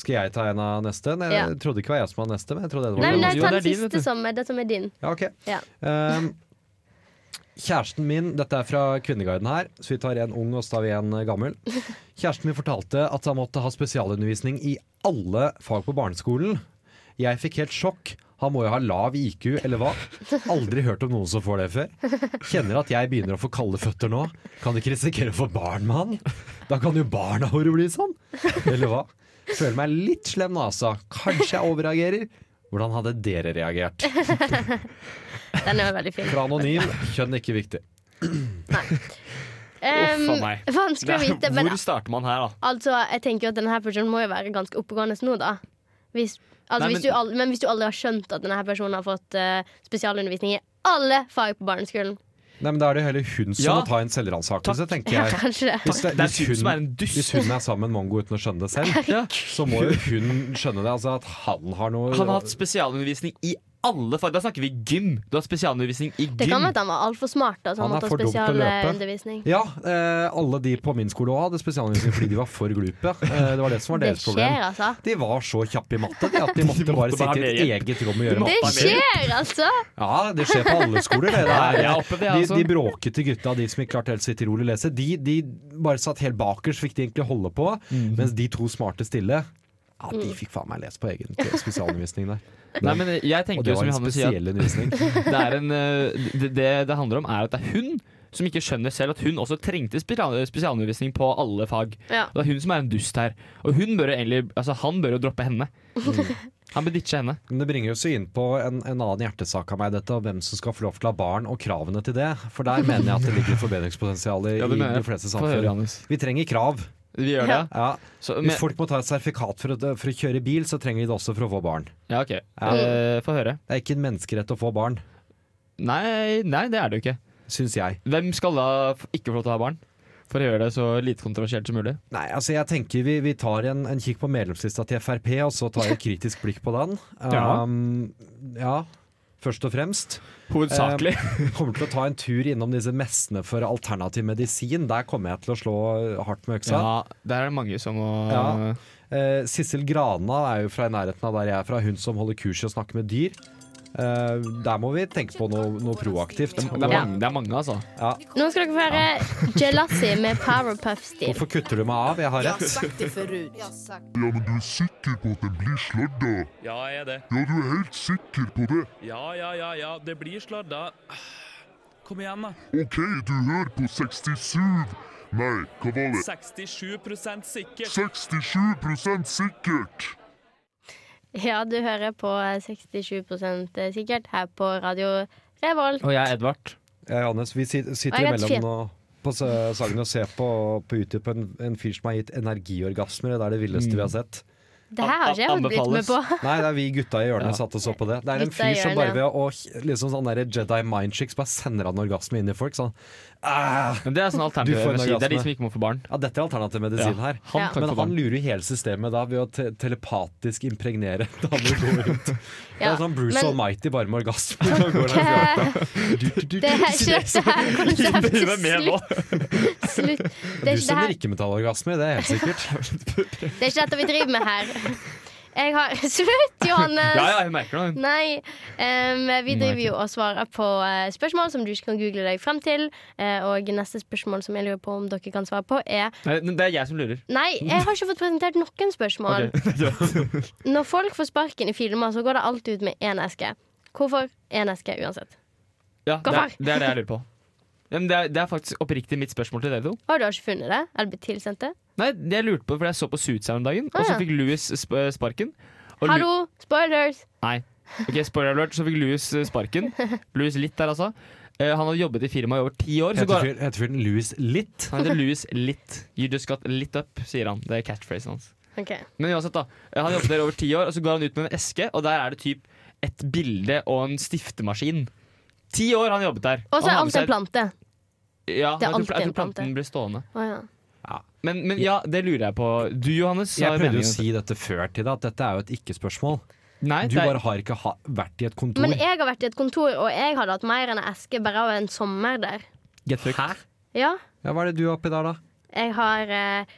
Speaker 4: Skal jeg ta en av neste? Nei,
Speaker 3: Ja.
Speaker 4: Jeg trodde ikke det var jeg som var neste, men jeg trodde det
Speaker 3: Nei,
Speaker 4: var
Speaker 3: men nei,
Speaker 2: Jo,
Speaker 3: ta
Speaker 2: det er
Speaker 3: den
Speaker 2: din, vet
Speaker 3: siste
Speaker 2: du.
Speaker 3: som er det som er din.
Speaker 4: Ja, ok.
Speaker 3: Ja.
Speaker 4: Ehm, kjæresten min, dette er fra Kvinneguiden her, så vi tar en ung og så tar vi en eh, gammel. Kjæresten min fortalte at han måtte ha spesialundervisning i alle fag på barneskolen. Jeg fikk helt sjokk. Han må jo ha lav IQ, eller hva? Aldri hørt om noen som får det før. Kjenner at jeg begynner å få kalde føtter nå. Kan ikke risikere å få barn med han. Da kan jo barna våre bli sånn. Eller hva? Føler meg litt slem, altså. Kanskje jeg overagerer. Hvordan hadde dere reagert?
Speaker 3: Den er jo veldig fin.
Speaker 4: Fra anonym, kjønn ikke viktig.
Speaker 3: Um,
Speaker 2: Uff a meg.
Speaker 3: vanskelig å vite, men
Speaker 2: Hvor starter man her, da?
Speaker 3: altså, jeg tenker jo at denne her personen må jo være ganske oppegående nå, da. Hvis, altså,
Speaker 2: Nei,
Speaker 3: hvis du aldri, men hvis du aldri har skjønt at denne her personen har fått eh, spesialundervisning i alle fag på barneskolen.
Speaker 4: Nei, men Da er det heller hun som
Speaker 2: Ja.
Speaker 4: må ta en selvransakelse, tenker
Speaker 3: Ja,
Speaker 4: jeg.
Speaker 3: kanskje det.
Speaker 4: Hvis, det,
Speaker 2: Det er
Speaker 4: hvis,
Speaker 2: typen som er
Speaker 4: hun,
Speaker 2: en
Speaker 4: hvis
Speaker 2: dust.
Speaker 4: hun er sammen med Mongo uten å skjønne det selv,
Speaker 2: Ja.
Speaker 4: så må jo hun skjønne det. Altså at han har noe
Speaker 2: Han har hatt spesialundervisning i alle fag. Da snakker vi gym! Du har spesialundervisning i
Speaker 3: Det kan
Speaker 2: gym.
Speaker 3: være at han var altfor smart. Da, så han
Speaker 4: Han er
Speaker 3: måtte
Speaker 4: for
Speaker 3: ha
Speaker 4: dum til å løpe.
Speaker 3: spesialundervisning.
Speaker 4: Ja, eh, alle de på min skole også hadde spesialundervisning fordi de var for glupe. Eh, det var det som var
Speaker 3: Det
Speaker 4: deres problem.
Speaker 3: skjer, altså.
Speaker 4: De var så kjappe i matte de, at de måtte,
Speaker 2: måtte bare
Speaker 4: bare sitte i et
Speaker 2: ha
Speaker 4: eget rom og
Speaker 2: De
Speaker 4: gjøre
Speaker 3: Det
Speaker 2: måtte Pappa
Speaker 4: matta.
Speaker 2: ha mer.
Speaker 3: skjer, altså!
Speaker 4: Ja, det skjer på alle skoler. Det, det
Speaker 2: Ja,
Speaker 4: er,
Speaker 2: jeg har opplevd det,
Speaker 4: de,
Speaker 2: altså.
Speaker 4: de bråkete gutta, de som ikke klarte helt å sitte rolig og lese, de, de bare satt helt bakerst, fikk de egentlig holde på.
Speaker 2: Mhm.
Speaker 4: Mens de to smarte stille, ja, de fikk faen meg lese på egen spesialundervisning der.
Speaker 2: Nei, men jeg
Speaker 4: Og
Speaker 2: tenker
Speaker 4: det
Speaker 2: jo
Speaker 4: var
Speaker 2: som
Speaker 4: en
Speaker 2: Johanne sier, at
Speaker 4: spesiell undervisning.
Speaker 2: det, er en, eh, det, det det handler om, er at det er hun som ikke skjønner selv at hun også trengte spesial- spesialundervisning på alle fag.
Speaker 3: Ja.
Speaker 2: Det er hun som er en dust her. Og hun bør jo egentlig, altså han bør jo droppe henne. Han bør ditche henne.
Speaker 4: Men det bringer oss jo inn på en, en annen hjertesak av meg, dette, og hvem som skal få lov til å ha barn, og kravene til det. For der mener jeg at det ligger forbedringspotensial i,
Speaker 2: Ja, det mener jeg.
Speaker 4: i de fleste
Speaker 2: Få høre,
Speaker 4: samfunn.
Speaker 2: Johannes.
Speaker 4: Vi trenger krav.
Speaker 2: Vi gjør
Speaker 3: Ja.
Speaker 2: det.
Speaker 4: Ja.
Speaker 2: Så, men,
Speaker 4: Hvis folk må ta et sertifikat for å, for å kjøre bil, så trenger de det også for å få barn.
Speaker 2: ja, ok. Eh, Få høre.
Speaker 4: Det er ikke en menneskerett å få barn,
Speaker 2: Nei, nei, det er det jo ikke.
Speaker 4: syns jeg.
Speaker 2: Hvem skal da f- ikke få lov til å ha barn? For å gjøre det så lite kontroversielt som mulig.
Speaker 4: Nei, altså jeg tenker vi, vi tar en, en kikk på medlemslista til Frp, og så tar vi et kritisk blikk på den.
Speaker 2: Ja.
Speaker 4: Um, ja, først og fremst.
Speaker 2: Hovedsakelig.
Speaker 4: Kommer til å ta en tur innom disse messene for alternativ medisin. Der kommer jeg til å slå hardt med øksa.
Speaker 2: Ja, der er det mange som må
Speaker 4: Sånn. Ja. Eh, Sissel Grana er jo fra i nærheten av der jeg er fra, hun som holder kurs i å snakke med dyr. Eh, der må vi tenke på noe, noe proaktivt.
Speaker 2: det, er mange, det er mange, altså.
Speaker 3: Nå skal dere få høre Jealousy med Powerpuff-stil.
Speaker 4: Hvorfor kutter du meg av? Jeg har rett.
Speaker 7: Ja, men du er sikker på at den blir sladda?
Speaker 8: Ja, jeg er det.
Speaker 7: Ja, du er helt sikker på det?
Speaker 8: Ja, ja, ja, ja. Det blir sladda. Kom igjen, da.
Speaker 7: OK, du hører på 67 Nei, hva var det?
Speaker 8: 67 sikkert.
Speaker 7: 67 sikkert!
Speaker 3: Ja, du hører på 67 sikkert her på Radio Revolt.
Speaker 2: Og jeg er Edvard.
Speaker 4: Ja, Johannes, vi sit- sitter
Speaker 3: Nei, jeg vet
Speaker 4: imellom nå på s- Sagen og ser på, på YouTube på en, en fyr som har gitt energiorgasmer. og Det er det villeste vi har
Speaker 2: Mm.
Speaker 4: sett.
Speaker 3: Det her har ikke jeg fått blitt med på.
Speaker 4: Nei, det er vi gutta i hjørnet
Speaker 2: Ja.
Speaker 4: satt og så på det. Det er en
Speaker 3: Gutta i
Speaker 4: fyr som bare
Speaker 3: hjørnet.
Speaker 4: ved å h- liksom sånn der Jedi mind tricks bare sender han orgasme inn i folk. Sånn «Ah,
Speaker 2: Men det er sånn alternativ
Speaker 4: Du får en
Speaker 2: energi. Det er de
Speaker 4: orgasme.
Speaker 2: som ikke må få barn.
Speaker 4: Ja, dette er alternativ medisin her.
Speaker 2: Han
Speaker 3: Ja.
Speaker 2: kan
Speaker 4: Men
Speaker 2: ikke få
Speaker 4: han
Speaker 2: barn.
Speaker 4: lurer jo hele systemet da ved å te telepatisk impregnere damer og går rundt. Det
Speaker 3: Ja,
Speaker 4: er sånn Bruce
Speaker 3: men-
Speaker 4: Almighty bare med orgasme. Da går han og
Speaker 3: Eh,
Speaker 4: gjør
Speaker 3: Det
Speaker 4: det.
Speaker 3: er ikke dette her konseptet. Slutt. Slutt. Det er ikke
Speaker 4: Du
Speaker 3: det
Speaker 4: sender
Speaker 3: her
Speaker 4: ikke metallorgasmer, det er helt sikkert.
Speaker 3: Det er ikke dette vi driver med her. Jeg har Slutt, Johannes!
Speaker 2: Ja, ja, jeg merker det.
Speaker 3: Nei. em, vi driver
Speaker 2: Merkelig.
Speaker 3: jo og svarer på eh, spørsmål som du ikke kan google deg frem til. Eh, og neste spørsmål som jeg lurer på om dere kan svare på, er
Speaker 2: Nei, Det er jeg som lurer.
Speaker 3: Nei, jeg har ikke fått presentert noen spørsmål.
Speaker 2: Ok.
Speaker 3: Når folk får sparken i filmer, så går det alltid ut med én eske. Hvorfor én eske uansett?
Speaker 2: Ja,
Speaker 3: Gå
Speaker 2: det, er,
Speaker 3: for.
Speaker 2: det er det jeg lurer på. Ja, men det, er, det er faktisk oppriktig mitt spørsmål til dere to.
Speaker 3: Og du har ikke funnet det? Eller blitt tilsendt det?
Speaker 2: Nei, det jeg lurte på fordi jeg så på Suits her om dagen, og
Speaker 3: Ah,
Speaker 2: så
Speaker 3: ja.
Speaker 2: fikk Louis sp eh, sparken. Og Lu-
Speaker 3: Hallo, spoilers!
Speaker 2: Nei. Ok, Spoiler alert, så fikk Louis eh, sparken. Louis litt der, altså. Eh, han har jobbet i firmaet i over ti år. Så
Speaker 4: Heter
Speaker 2: går,
Speaker 4: fyren- heter fyren Louis Litt?
Speaker 2: han heter Louis Litt. You just got lit up, sier han. Det er catchphrasen hans.
Speaker 3: Ok,
Speaker 2: Men uansett, da. Eh, Han jobbet der over ti år, og så går han ut med en eske, og der er det typ et bilde og en stiftemaskin. Ti år han jobbet der.
Speaker 3: Og så
Speaker 2: Han
Speaker 3: er
Speaker 2: har med
Speaker 3: alt en
Speaker 2: seg-
Speaker 3: plante.
Speaker 2: Ja,
Speaker 3: Det er
Speaker 2: jeg tror-
Speaker 3: alltid
Speaker 2: jeg
Speaker 3: en
Speaker 2: tror planten
Speaker 3: plante.
Speaker 2: blir stående.
Speaker 3: Å ja.
Speaker 2: Men, men ja, det lurer jeg på. Du, Johannes, sa
Speaker 4: Jeg prøvde
Speaker 2: meningen
Speaker 4: å
Speaker 2: om
Speaker 4: si dette før til deg, at dette er jo et ikke-spørsmål.
Speaker 2: dette. Nei,
Speaker 4: Du
Speaker 2: det er-
Speaker 4: bare har ikke ha vært i et kontor.
Speaker 3: Men jeg har vært i et kontor, og jeg hadde hatt mer enn en eske bare av en sommer der.
Speaker 2: Get fucked.
Speaker 3: Ja,
Speaker 4: Ja, hva er det du har oppi der, da?
Speaker 3: jeg har eh,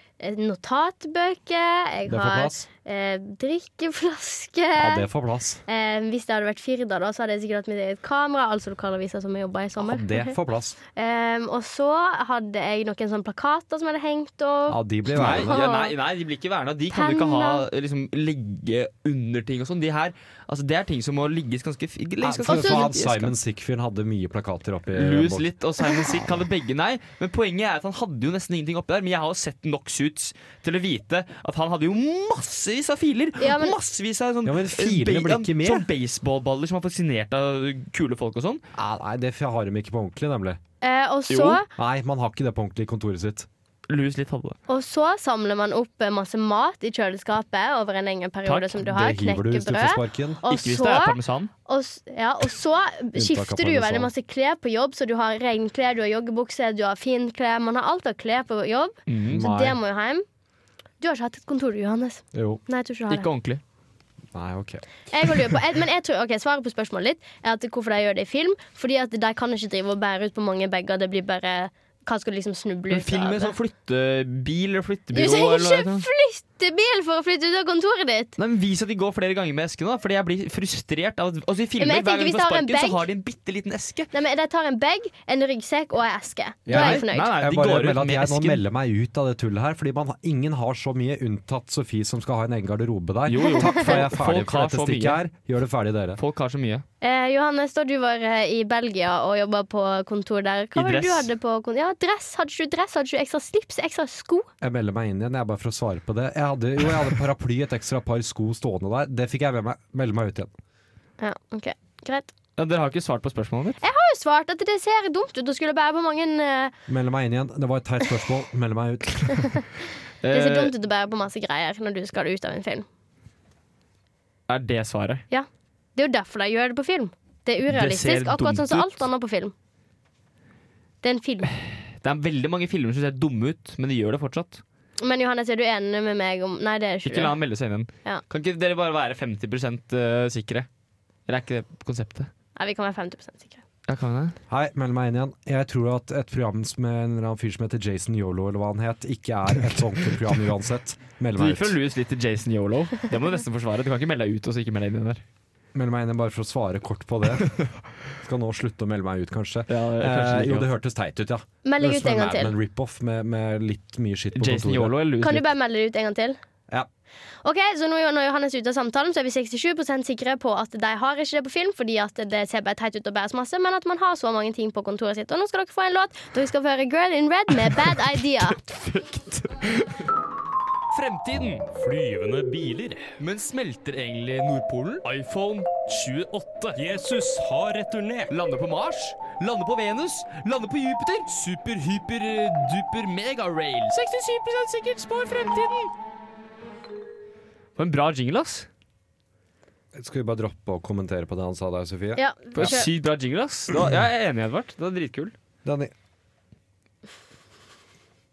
Speaker 3: notatbøker, jeg
Speaker 4: Det får
Speaker 3: har
Speaker 4: plass.
Speaker 3: eh, drikkeflaske.
Speaker 4: Ja, det får plass.
Speaker 3: eh, hvis det hadde vært Firda, da, så hadde jeg sikkert hatt mitt eget kamera. Altså lokalaviser som jeg jobba i
Speaker 4: Ja,
Speaker 3: sommer.
Speaker 4: det får plass.
Speaker 3: Eh, og så hadde jeg noen sånne plakater som jeg hadde hengt opp.
Speaker 4: Ja, de blir
Speaker 2: Nei,
Speaker 4: værende.
Speaker 2: ja, nei, nei, de blir ikke verna. De kan du ikke ha liksom, ligge under ting og sånn. De her, altså, det er ting som må ligges ganske fi-
Speaker 4: Ja,
Speaker 3: Liksom,
Speaker 2: ligges
Speaker 4: for
Speaker 2: ganske fint
Speaker 4: faen, eh,
Speaker 2: i eska.
Speaker 4: Simon Sickfjord hadde mye plakater oppi
Speaker 2: Louis
Speaker 4: boksen.
Speaker 2: litt og Simon Sick hadde begge nei. Men poenget er at han hadde jo nesten ingenting oppi der. Men jeg har jo sett nok ut til å vite at han hadde jo massevis av filer!
Speaker 3: Ja, men-
Speaker 2: massevis av sånn,
Speaker 4: Ja, men filene ble ikke med.
Speaker 2: sånn baseballballer som var fascinert av kule folk og sånn.
Speaker 4: Nei, nei, det har de ikke på ordentlig, nemlig.
Speaker 3: Eh, og,
Speaker 2: Jo.
Speaker 3: så,
Speaker 4: Nei, man har ikke det på ordentlig i kontoret sitt.
Speaker 2: Louis litt hadde det.
Speaker 3: og så samler man opp eh, masse mat i kjøleskapet over en lengre
Speaker 2: Takk,
Speaker 3: periode som du har.
Speaker 4: det hiver du hvis du får
Speaker 3: Knekkebrød.
Speaker 4: sparken.
Speaker 3: Og
Speaker 2: Ikke hvis det
Speaker 3: så,
Speaker 2: er parmesan.
Speaker 3: og, s- ja, og så skifter du jo
Speaker 4: parmesan.
Speaker 3: veldig masse klær på jobb, så du har regnklær, du har joggebukse, du har fint klær. Man har alt av klær på jobb,
Speaker 2: Mm.
Speaker 3: så det må jo hjem. Du har ikke hatt et kontor, du, Johannes.
Speaker 4: Jo.
Speaker 3: Nei, jeg tror ikke du har det.
Speaker 2: Ikke ordentlig.
Speaker 4: Nei, ok.
Speaker 3: Jeg går og lurer på, jeg, men jeg tror, ok, Svaret på spørsmålet ditt er at hvorfor de gjør det i film. Fordi at de kan ikke drive og bære ut på mange bager. Det blir bare Hva skal du liksom snuble
Speaker 2: Men
Speaker 3: ut
Speaker 2: film
Speaker 3: av?
Speaker 2: med sånn
Speaker 3: det?
Speaker 2: flyttebil eller
Speaker 3: Du
Speaker 2: flyttebyrå eller noe
Speaker 3: trenger ikke
Speaker 2: sånt.
Speaker 3: flyttebil for å flytte ut av kontoret ditt!
Speaker 2: sånn. Nei, men Vis at de går flere ganger med eskene, da. Fordi jeg blir frustrert av at altså, i
Speaker 3: Ja,
Speaker 2: filmer,
Speaker 3: men jeg
Speaker 2: Hver
Speaker 3: tenker
Speaker 2: gang de
Speaker 3: hvis de
Speaker 2: får
Speaker 3: har en
Speaker 2: sparken, så
Speaker 3: bag-
Speaker 2: har de en bitte liten eske.
Speaker 3: Nei, men De tar en bag, en ryggsekk og ei eske. Da er jeg
Speaker 2: nei,
Speaker 3: fornøyd.
Speaker 2: nei,
Speaker 4: Jeg
Speaker 2: de
Speaker 4: bare
Speaker 2: går ut
Speaker 4: melder at
Speaker 2: med
Speaker 4: jeg nå
Speaker 2: esken.
Speaker 4: melder meg ut av det tullet her, fordi man, ingen har så mye unntatt Sofie som skal ha en egen garderobe der.
Speaker 2: Jo, jo.
Speaker 4: Takk for jeg er ferdig
Speaker 2: Folk
Speaker 4: for
Speaker 2: har
Speaker 4: dette
Speaker 2: så
Speaker 4: stikket
Speaker 2: mye.
Speaker 4: her. Gjør det ferdig, dere.
Speaker 2: Folk har så mye.
Speaker 3: Eh, Johannes, da du var eh, i Belgia og jobba på kontor der, hva
Speaker 2: I
Speaker 3: var det du
Speaker 2: dress.
Speaker 3: hadde på kontor? Ja, dress. Hadde ikke du dress? Hadde ikke du ekstra slips? Ekstra sko?
Speaker 4: Jeg melder meg inn igjen, jeg er bare for å svare på det. Jeg hadde, jo, jeg hadde paraply, et ekstra par sko stående der. Det fikk jeg med meg. Melde meg ut igjen.
Speaker 3: Ja, OK. Greit.
Speaker 2: Ja, dere har ikke svart på spørsmålet mitt.
Speaker 3: Jeg har jo svart at det ser dumt ut å skulle bære på mange eh,
Speaker 4: Melde meg inn igjen. Det var et teit spørsmål. Melde meg ut.
Speaker 3: Det ser
Speaker 2: Eh,
Speaker 3: dumt ut å bære på masse greier når du skal ut av en film.
Speaker 2: er det svaret?
Speaker 3: Det er jo derfor de gjør det på film. Det er
Speaker 2: Det ser
Speaker 3: urealistisk, akkurat sånn som
Speaker 2: dumt
Speaker 3: alt annet på film. Det er en film.
Speaker 2: Det er veldig mange filmer som ser dumme ut, men de gjør det fortsatt.
Speaker 3: Men Johannes, er du enig med meg om Nei, det er ikke
Speaker 2: Ikke la
Speaker 3: du.
Speaker 2: han melde seg inn igjen.
Speaker 3: Ja.
Speaker 2: Kan ikke dere bare være 50 eh, sikre? Eller er ikke det konseptet?
Speaker 3: Nei, vi kan være 50 sikre.
Speaker 2: Ja, kan vi det?
Speaker 4: Hei, meld meg inn igjen. Jeg tror at et program med en eller annen fyr som heter Jason Yolo, eller hva han het, ikke er et sånt program uansett. Meld
Speaker 2: Du
Speaker 4: meg
Speaker 2: gikk fra
Speaker 4: ut.
Speaker 2: Louis litt til Jason Yolo. Det må du nesten forsvare. Du kan ikke melde deg ut og så ikke melde deg inn igjen der.
Speaker 4: Meld meg inn igjen bare for å svare kort på det. Skal nå slutte å melde meg ut, kanskje.
Speaker 2: Ja,
Speaker 4: Eh, jo, det hørtes teit ut, ja.
Speaker 3: Meld deg
Speaker 4: Høres
Speaker 3: ut en
Speaker 4: som
Speaker 3: gang til.
Speaker 4: Mad Men rip-off med, med litt mye skitt på
Speaker 2: Jason
Speaker 4: kontoret.
Speaker 2: Yolo eller Louis
Speaker 3: Kan du
Speaker 2: Litt?
Speaker 3: bare melde deg ut en gang til?
Speaker 4: Ja.
Speaker 3: Ok, så nå, Når Johannes er ute av samtalen, så er vi 67 sikre på at de har ikke det på film, fordi at det ser bare teit ut å bære så masse, men at man har så mange ting på kontoret sitt. Og nå skal dere få en låt. Dere skal få høre Girl in Red med Bad Idea.
Speaker 2: Fremtiden!
Speaker 8: Flyvende biler.
Speaker 2: Men smelter egentlig Nordpolen?
Speaker 8: iPhone 28. Jesus har returnert.
Speaker 2: Lande på Mars? Lande på Venus? Lande på Jupiter? Super, hyper, eh, duper, megarail. 67 sikkert spår fremtiden. For en bra jingle, ass.
Speaker 4: Skal vi bare droppe å kommentere på det han sa der, Sofie?
Speaker 3: Ja,
Speaker 2: For en
Speaker 3: kjør.
Speaker 2: Sykt bra jingle, ass. Det var, jeg er enig, Edvard. Det var dritkul.
Speaker 4: Danny.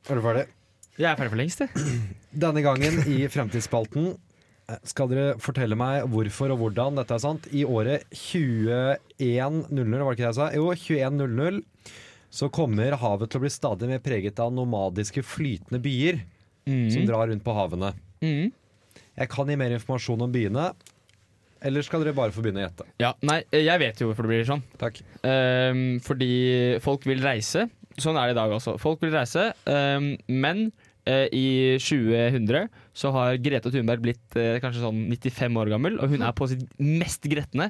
Speaker 4: Er du ferdig?
Speaker 2: Jeg er ferdig for lengst, jeg.
Speaker 4: Denne gangen i Fremtidsspalten eh, skal dere fortelle meg hvorfor og hvordan dette er sant. I året 2100, var det ikke det jeg sa? Jo, 2100 så kommer havet til å bli stadig mer preget av nomadiske flytende byer
Speaker 2: Mm.
Speaker 4: som drar rundt på havene.
Speaker 2: Mhm.
Speaker 4: Jeg kan gi mer informasjon om byene, eller skal dere bare få begynne å gjette?
Speaker 2: Ja, nei, jeg vet jo hvorfor det blir sånn.
Speaker 4: Takk.
Speaker 2: Ehm, fordi folk vil reise. Sånn er det i dag også. Folk vil reise, ehm, men eh, i 2000 så har Grete Thunberg blitt eh, kanskje sånn 95 år gammel, og hun er på sitt mest gretne.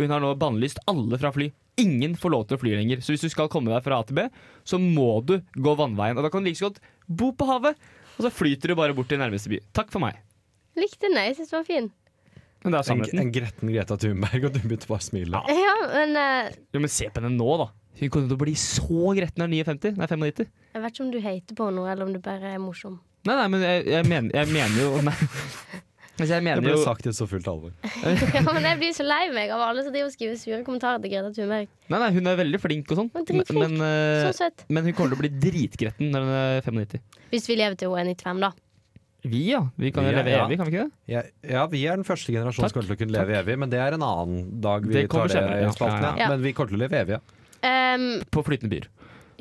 Speaker 2: Hun har nå bannlyst alle fra fly. Ingen får lov til å fly lenger. Så hvis du skal komme deg fra A til B, så må du gå vannveien. Og da kan du like så godt bo på havet, og så flyter du bare bort til nærmeste by. Takk for meg.
Speaker 3: Likte den, jeg synes den var fin.
Speaker 2: Men det er
Speaker 4: En,
Speaker 2: sannheten.
Speaker 4: en gretten Greta Thunberg, og du begynte bare å smile.
Speaker 3: Ja, men eh,
Speaker 2: Jo, men se på henne nå, da. Hun kommer til å bli så gretten av 59. Nei, 95.
Speaker 3: jeg vet ikke om du hater på noe, eller om du bare er morsom.
Speaker 2: Nei, nei, men jeg, jeg, mener, jeg mener jo Nei. Altså, jeg
Speaker 4: Det
Speaker 2: mener
Speaker 4: ble
Speaker 2: jo
Speaker 4: sagt i så fullt alvor.
Speaker 3: Ja, men Jeg blir så lei meg av alle som driver og skriver sure kommentarer til Greta Thunberg.
Speaker 2: Nei, nei, hun er veldig flink og sånn.
Speaker 3: Hun er dritflink.
Speaker 2: Men, eh,
Speaker 3: Så søt.
Speaker 2: men hun kommer til å bli dritgretten når hun er 95.
Speaker 3: Hvis vi lever til hun er 95, da.
Speaker 2: Vi, ja. Vi kan jo
Speaker 4: Vi, ja,
Speaker 2: leve
Speaker 4: ja.
Speaker 2: evig, kan vi ikke det?
Speaker 4: Ja, ja, vi er den første generasjonen som
Speaker 2: Takk.
Speaker 4: kommer til å kunne leve evig, men det er en annen dag vi
Speaker 2: Det
Speaker 4: tar
Speaker 2: kommer
Speaker 4: det
Speaker 2: senere,
Speaker 4: i
Speaker 2: ja.
Speaker 4: spalten. Ja.
Speaker 2: Ja,
Speaker 3: ja, ja.
Speaker 4: Men vi kommer til å leve evig. Ja.
Speaker 3: Ehm,
Speaker 2: På flytende byer.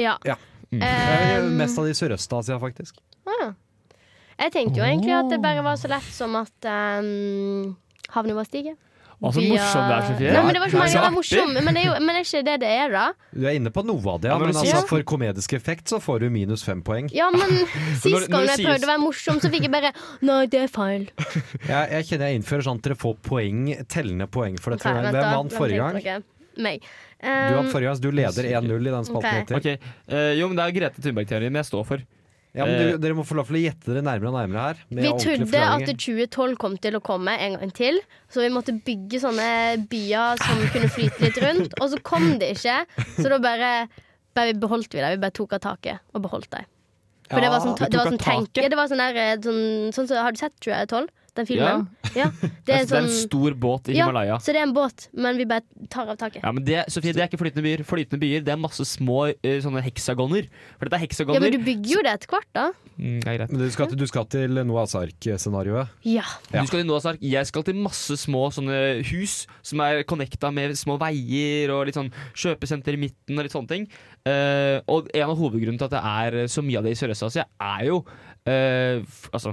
Speaker 3: ja.
Speaker 4: Ja.
Speaker 2: Mm.
Speaker 3: Ehm,
Speaker 4: Mest av de i Sørøst-Asia, faktisk.
Speaker 3: ah. Jeg tenkte jo egentlig at det bare var så lett som at um, havnet bare stiger.
Speaker 2: Å, så
Speaker 3: Via-
Speaker 2: morsom du Altså, er, Sofie.
Speaker 3: Nei, men det var ikke
Speaker 2: Nei,
Speaker 3: meningen å
Speaker 2: så
Speaker 3: være
Speaker 2: artig.
Speaker 3: morsom, men det er jo men det er ikke det det er, da.
Speaker 4: Du er inne på noe av det, ja,
Speaker 2: Ja, når
Speaker 4: men
Speaker 2: du
Speaker 4: altså,
Speaker 2: sier-
Speaker 4: for komedisk effekt så får du minus fem poeng.
Speaker 3: Ja, men
Speaker 2: når
Speaker 3: sist gang
Speaker 2: det
Speaker 3: jeg
Speaker 2: sies-
Speaker 3: prøvde å være morsom, så fikk jeg bare Nei, det er feil.
Speaker 4: Jeg, jeg kjenner jeg innfører sånn at dere får poeng, tellende poeng for dette.
Speaker 3: Ok, vent
Speaker 4: Hvem
Speaker 3: da.
Speaker 4: vant forrige gang?
Speaker 3: tenkte dere? Meg.
Speaker 4: Du
Speaker 3: Ehm,
Speaker 4: vant forrige gang, så du leder
Speaker 2: Sikkert.
Speaker 4: 1-0 i den spalten.
Speaker 3: Ok.
Speaker 4: Etter.
Speaker 2: Ok, eh, Jo, men det er Grete Thunberg-teorien jeg står for.
Speaker 4: Ja, men dere, dere må få lov til å gjette dere nærmere og nærmere her. med
Speaker 3: Vi
Speaker 4: ordentlige
Speaker 3: trodde at 2012
Speaker 4: forklaringer.
Speaker 3: kom til å komme en gang til, så vi måtte bygge sånne byer som kunne flyte litt rundt. Og så kom det ikke, så da bare, bare beholdt vi det. Vi bare tok av taket og beholdt det. For det var sånn,
Speaker 2: Ja,
Speaker 3: det var
Speaker 2: du tok
Speaker 3: sånn
Speaker 2: av taket?
Speaker 3: tenke ja, Det var sånn der eh, sånn, sånn, som- Har du sett 2012? Den filmen? Ja. det er en
Speaker 2: det er
Speaker 3: sånn
Speaker 2: en stor båt i
Speaker 3: ja,
Speaker 2: Himalaya.
Speaker 3: så det er en båt, men vi bare tar av taket.
Speaker 2: Ja, men det, Sofie, det er ikke flytende byer. Flytende byer, Det er masse små eh, sånne heksagoner. For dette er
Speaker 3: Ja,
Speaker 2: heksagoner.
Speaker 3: Men du bygger jo det etter hvert, da.
Speaker 2: Mm, det er greit.
Speaker 4: Men du skal, til- du skal til Noahs ark-scenarioet.
Speaker 3: Ja.
Speaker 4: Ja.
Speaker 2: Du skal til Noahs ark. Jeg skal til masse små sånne hus som er connecta med små veier og litt sånn kjøpesenter i midten og litt sånne ting. Eh, og en av hovedgrunnene til at det er så mye av det i Sørøst-Asia, er jo eh, f Altså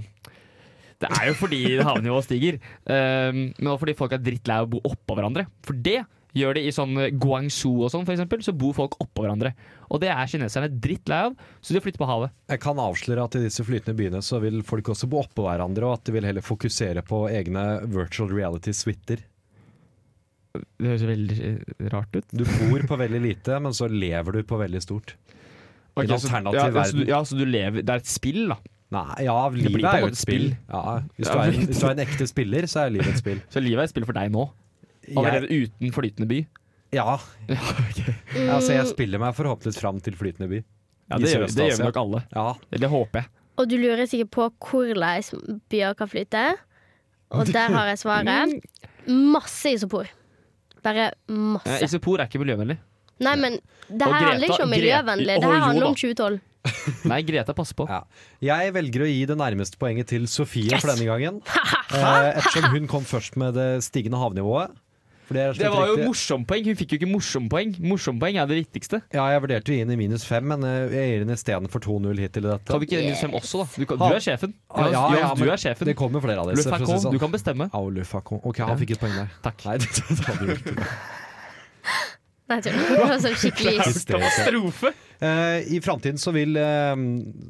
Speaker 2: Det er jo fordi havnivået stiger, eh, men også fordi folk er drittlei av å bo oppå hverandre. For det gjør de i sånn Guangzhou og sånn, for eksempel, så bor folk oppå hverandre. Og det er kineserne drittlei av, så de flytter på havet.
Speaker 4: Jeg kan avsløre at i disse flytende byene så vil folk også bo oppå hverandre, og at de vil heller fokusere på egne virtual reality-suiter.
Speaker 2: Det høres veldig eh, rart ut.
Speaker 4: Du bor på veldig lite, men så lever du på veldig stort.
Speaker 2: Ok,
Speaker 4: en
Speaker 2: så-
Speaker 4: alternativ
Speaker 2: ja, ja, Så du,
Speaker 4: verden.
Speaker 2: ja, så du lever Det er et spill, da.
Speaker 4: Nei, ja,
Speaker 2: blir
Speaker 4: livet
Speaker 2: på en
Speaker 4: er jo
Speaker 2: måte
Speaker 4: et spill.
Speaker 2: spill.
Speaker 4: Ja, hvis,
Speaker 2: Ja,
Speaker 4: du er,
Speaker 2: men-
Speaker 4: hvis du er en ekte spiller, så er livet et spill.
Speaker 2: Så livet er et spill for deg nå. Allerede
Speaker 4: Jeg,
Speaker 2: uten flytende by.
Speaker 4: ja,
Speaker 3: Mm,
Speaker 4: altså jeg spiller meg forhåpentligvis fram til flytende by.
Speaker 2: Ja,
Speaker 4: I
Speaker 2: det, gjør, det gjør vi
Speaker 4: Sørøst-Asia.
Speaker 2: nok alle.
Speaker 4: Ja,
Speaker 2: Eller det håper jeg.
Speaker 3: og du lurer sikkert på hvordan byer kan flyte. Og der har jeg svaret.
Speaker 2: Mm.
Speaker 3: Masse isopor. Bare
Speaker 2: Eh,
Speaker 3: masse.
Speaker 2: Isopor er ikke miljøvennlig.
Speaker 3: Nei, men det
Speaker 2: Og
Speaker 3: her handler
Speaker 2: Greta-
Speaker 3: ikke om
Speaker 2: Gre-
Speaker 3: miljøvennlig. Det
Speaker 2: Å,
Speaker 3: her
Speaker 2: jo
Speaker 3: handler
Speaker 2: da.
Speaker 3: om 2012.
Speaker 2: Nei, Greta, pass på.
Speaker 4: ja. Jeg velger å gi det nærmeste poenget til Sofie for denne gangen. Eh, ettersom hun kom først med det stigende havnivået. For det, er
Speaker 2: Det
Speaker 4: slett
Speaker 2: var jo
Speaker 4: riktig.
Speaker 2: morsompoeng! Hun fikk jo ikke morsompoeng. Morsompoeng er det viktigste.
Speaker 4: Ja, jeg vurderte å gi den i minus fem, men eh, jeg gir den istedenfor 2-0 hit til dette.
Speaker 2: Kan vi ikke gi minus fem også, da? Du, kan, du er sjefen.
Speaker 4: Ah,
Speaker 2: Johannes, Johannes, du
Speaker 4: men
Speaker 2: er sjefen.
Speaker 4: Det kommer flere av
Speaker 2: Le
Speaker 4: disse. for å si det
Speaker 2: Facon,
Speaker 4: sånn.
Speaker 2: du kan bestemme.
Speaker 4: Au, le Facon. Ok, han fikk et poeng der.
Speaker 2: Takk.
Speaker 4: Nei, det, det hadde du ikke.
Speaker 3: Nei, jeg tror- det var sånn skikkelig
Speaker 4: Hysterisk.
Speaker 2: Katastrofe!
Speaker 4: Eh, I framtiden så vil, eh,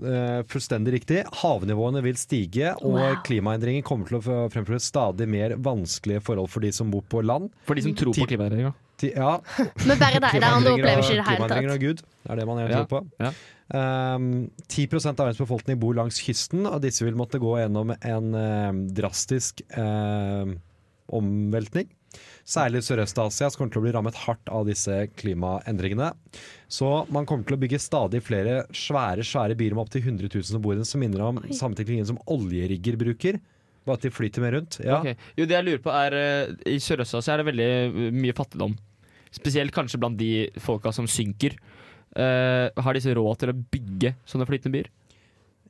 Speaker 4: eh, fullstendig riktig, havnivåene vil stige, og
Speaker 3: Wow.
Speaker 4: klimaendringer kommer til å f- fremføre stadig mer vanskelige forhold for de som bor på land.
Speaker 2: For de som tror på
Speaker 4: Ti-
Speaker 2: klimaendringer.
Speaker 4: Ti- Ja,
Speaker 3: Men bare deg. De andre
Speaker 4: klimaendringer
Speaker 3: opplever
Speaker 4: og,
Speaker 3: ikke det hele
Speaker 4: klimaendringer
Speaker 3: tatt.
Speaker 4: og Gud. Det er det man gjerne
Speaker 2: Ja,
Speaker 4: tror på.
Speaker 2: ja.
Speaker 4: Um, 10 av verdens befolkning bor langs kysten, og disse vil måtte gå gjennom en eh, drastisk eh, omveltning. Særlig Sørøst-Asia som kommer til å bli rammet hardt av disse klimaendringene. Så man kommer til å bygge stadig flere svære svære byer med opptil 100 000 som bor i den, som minner om samme teknologien som oljerigger bruker. Bare at de flyter mer rundt. Ja.
Speaker 2: Ok. Jo, det jeg lurer på er eh, I Sørøst-Asia er det veldig eh, mye fattigdom. Spesielt kanskje blant de folka som synker. Eh, har disse råd til å bygge sånne flytende byer?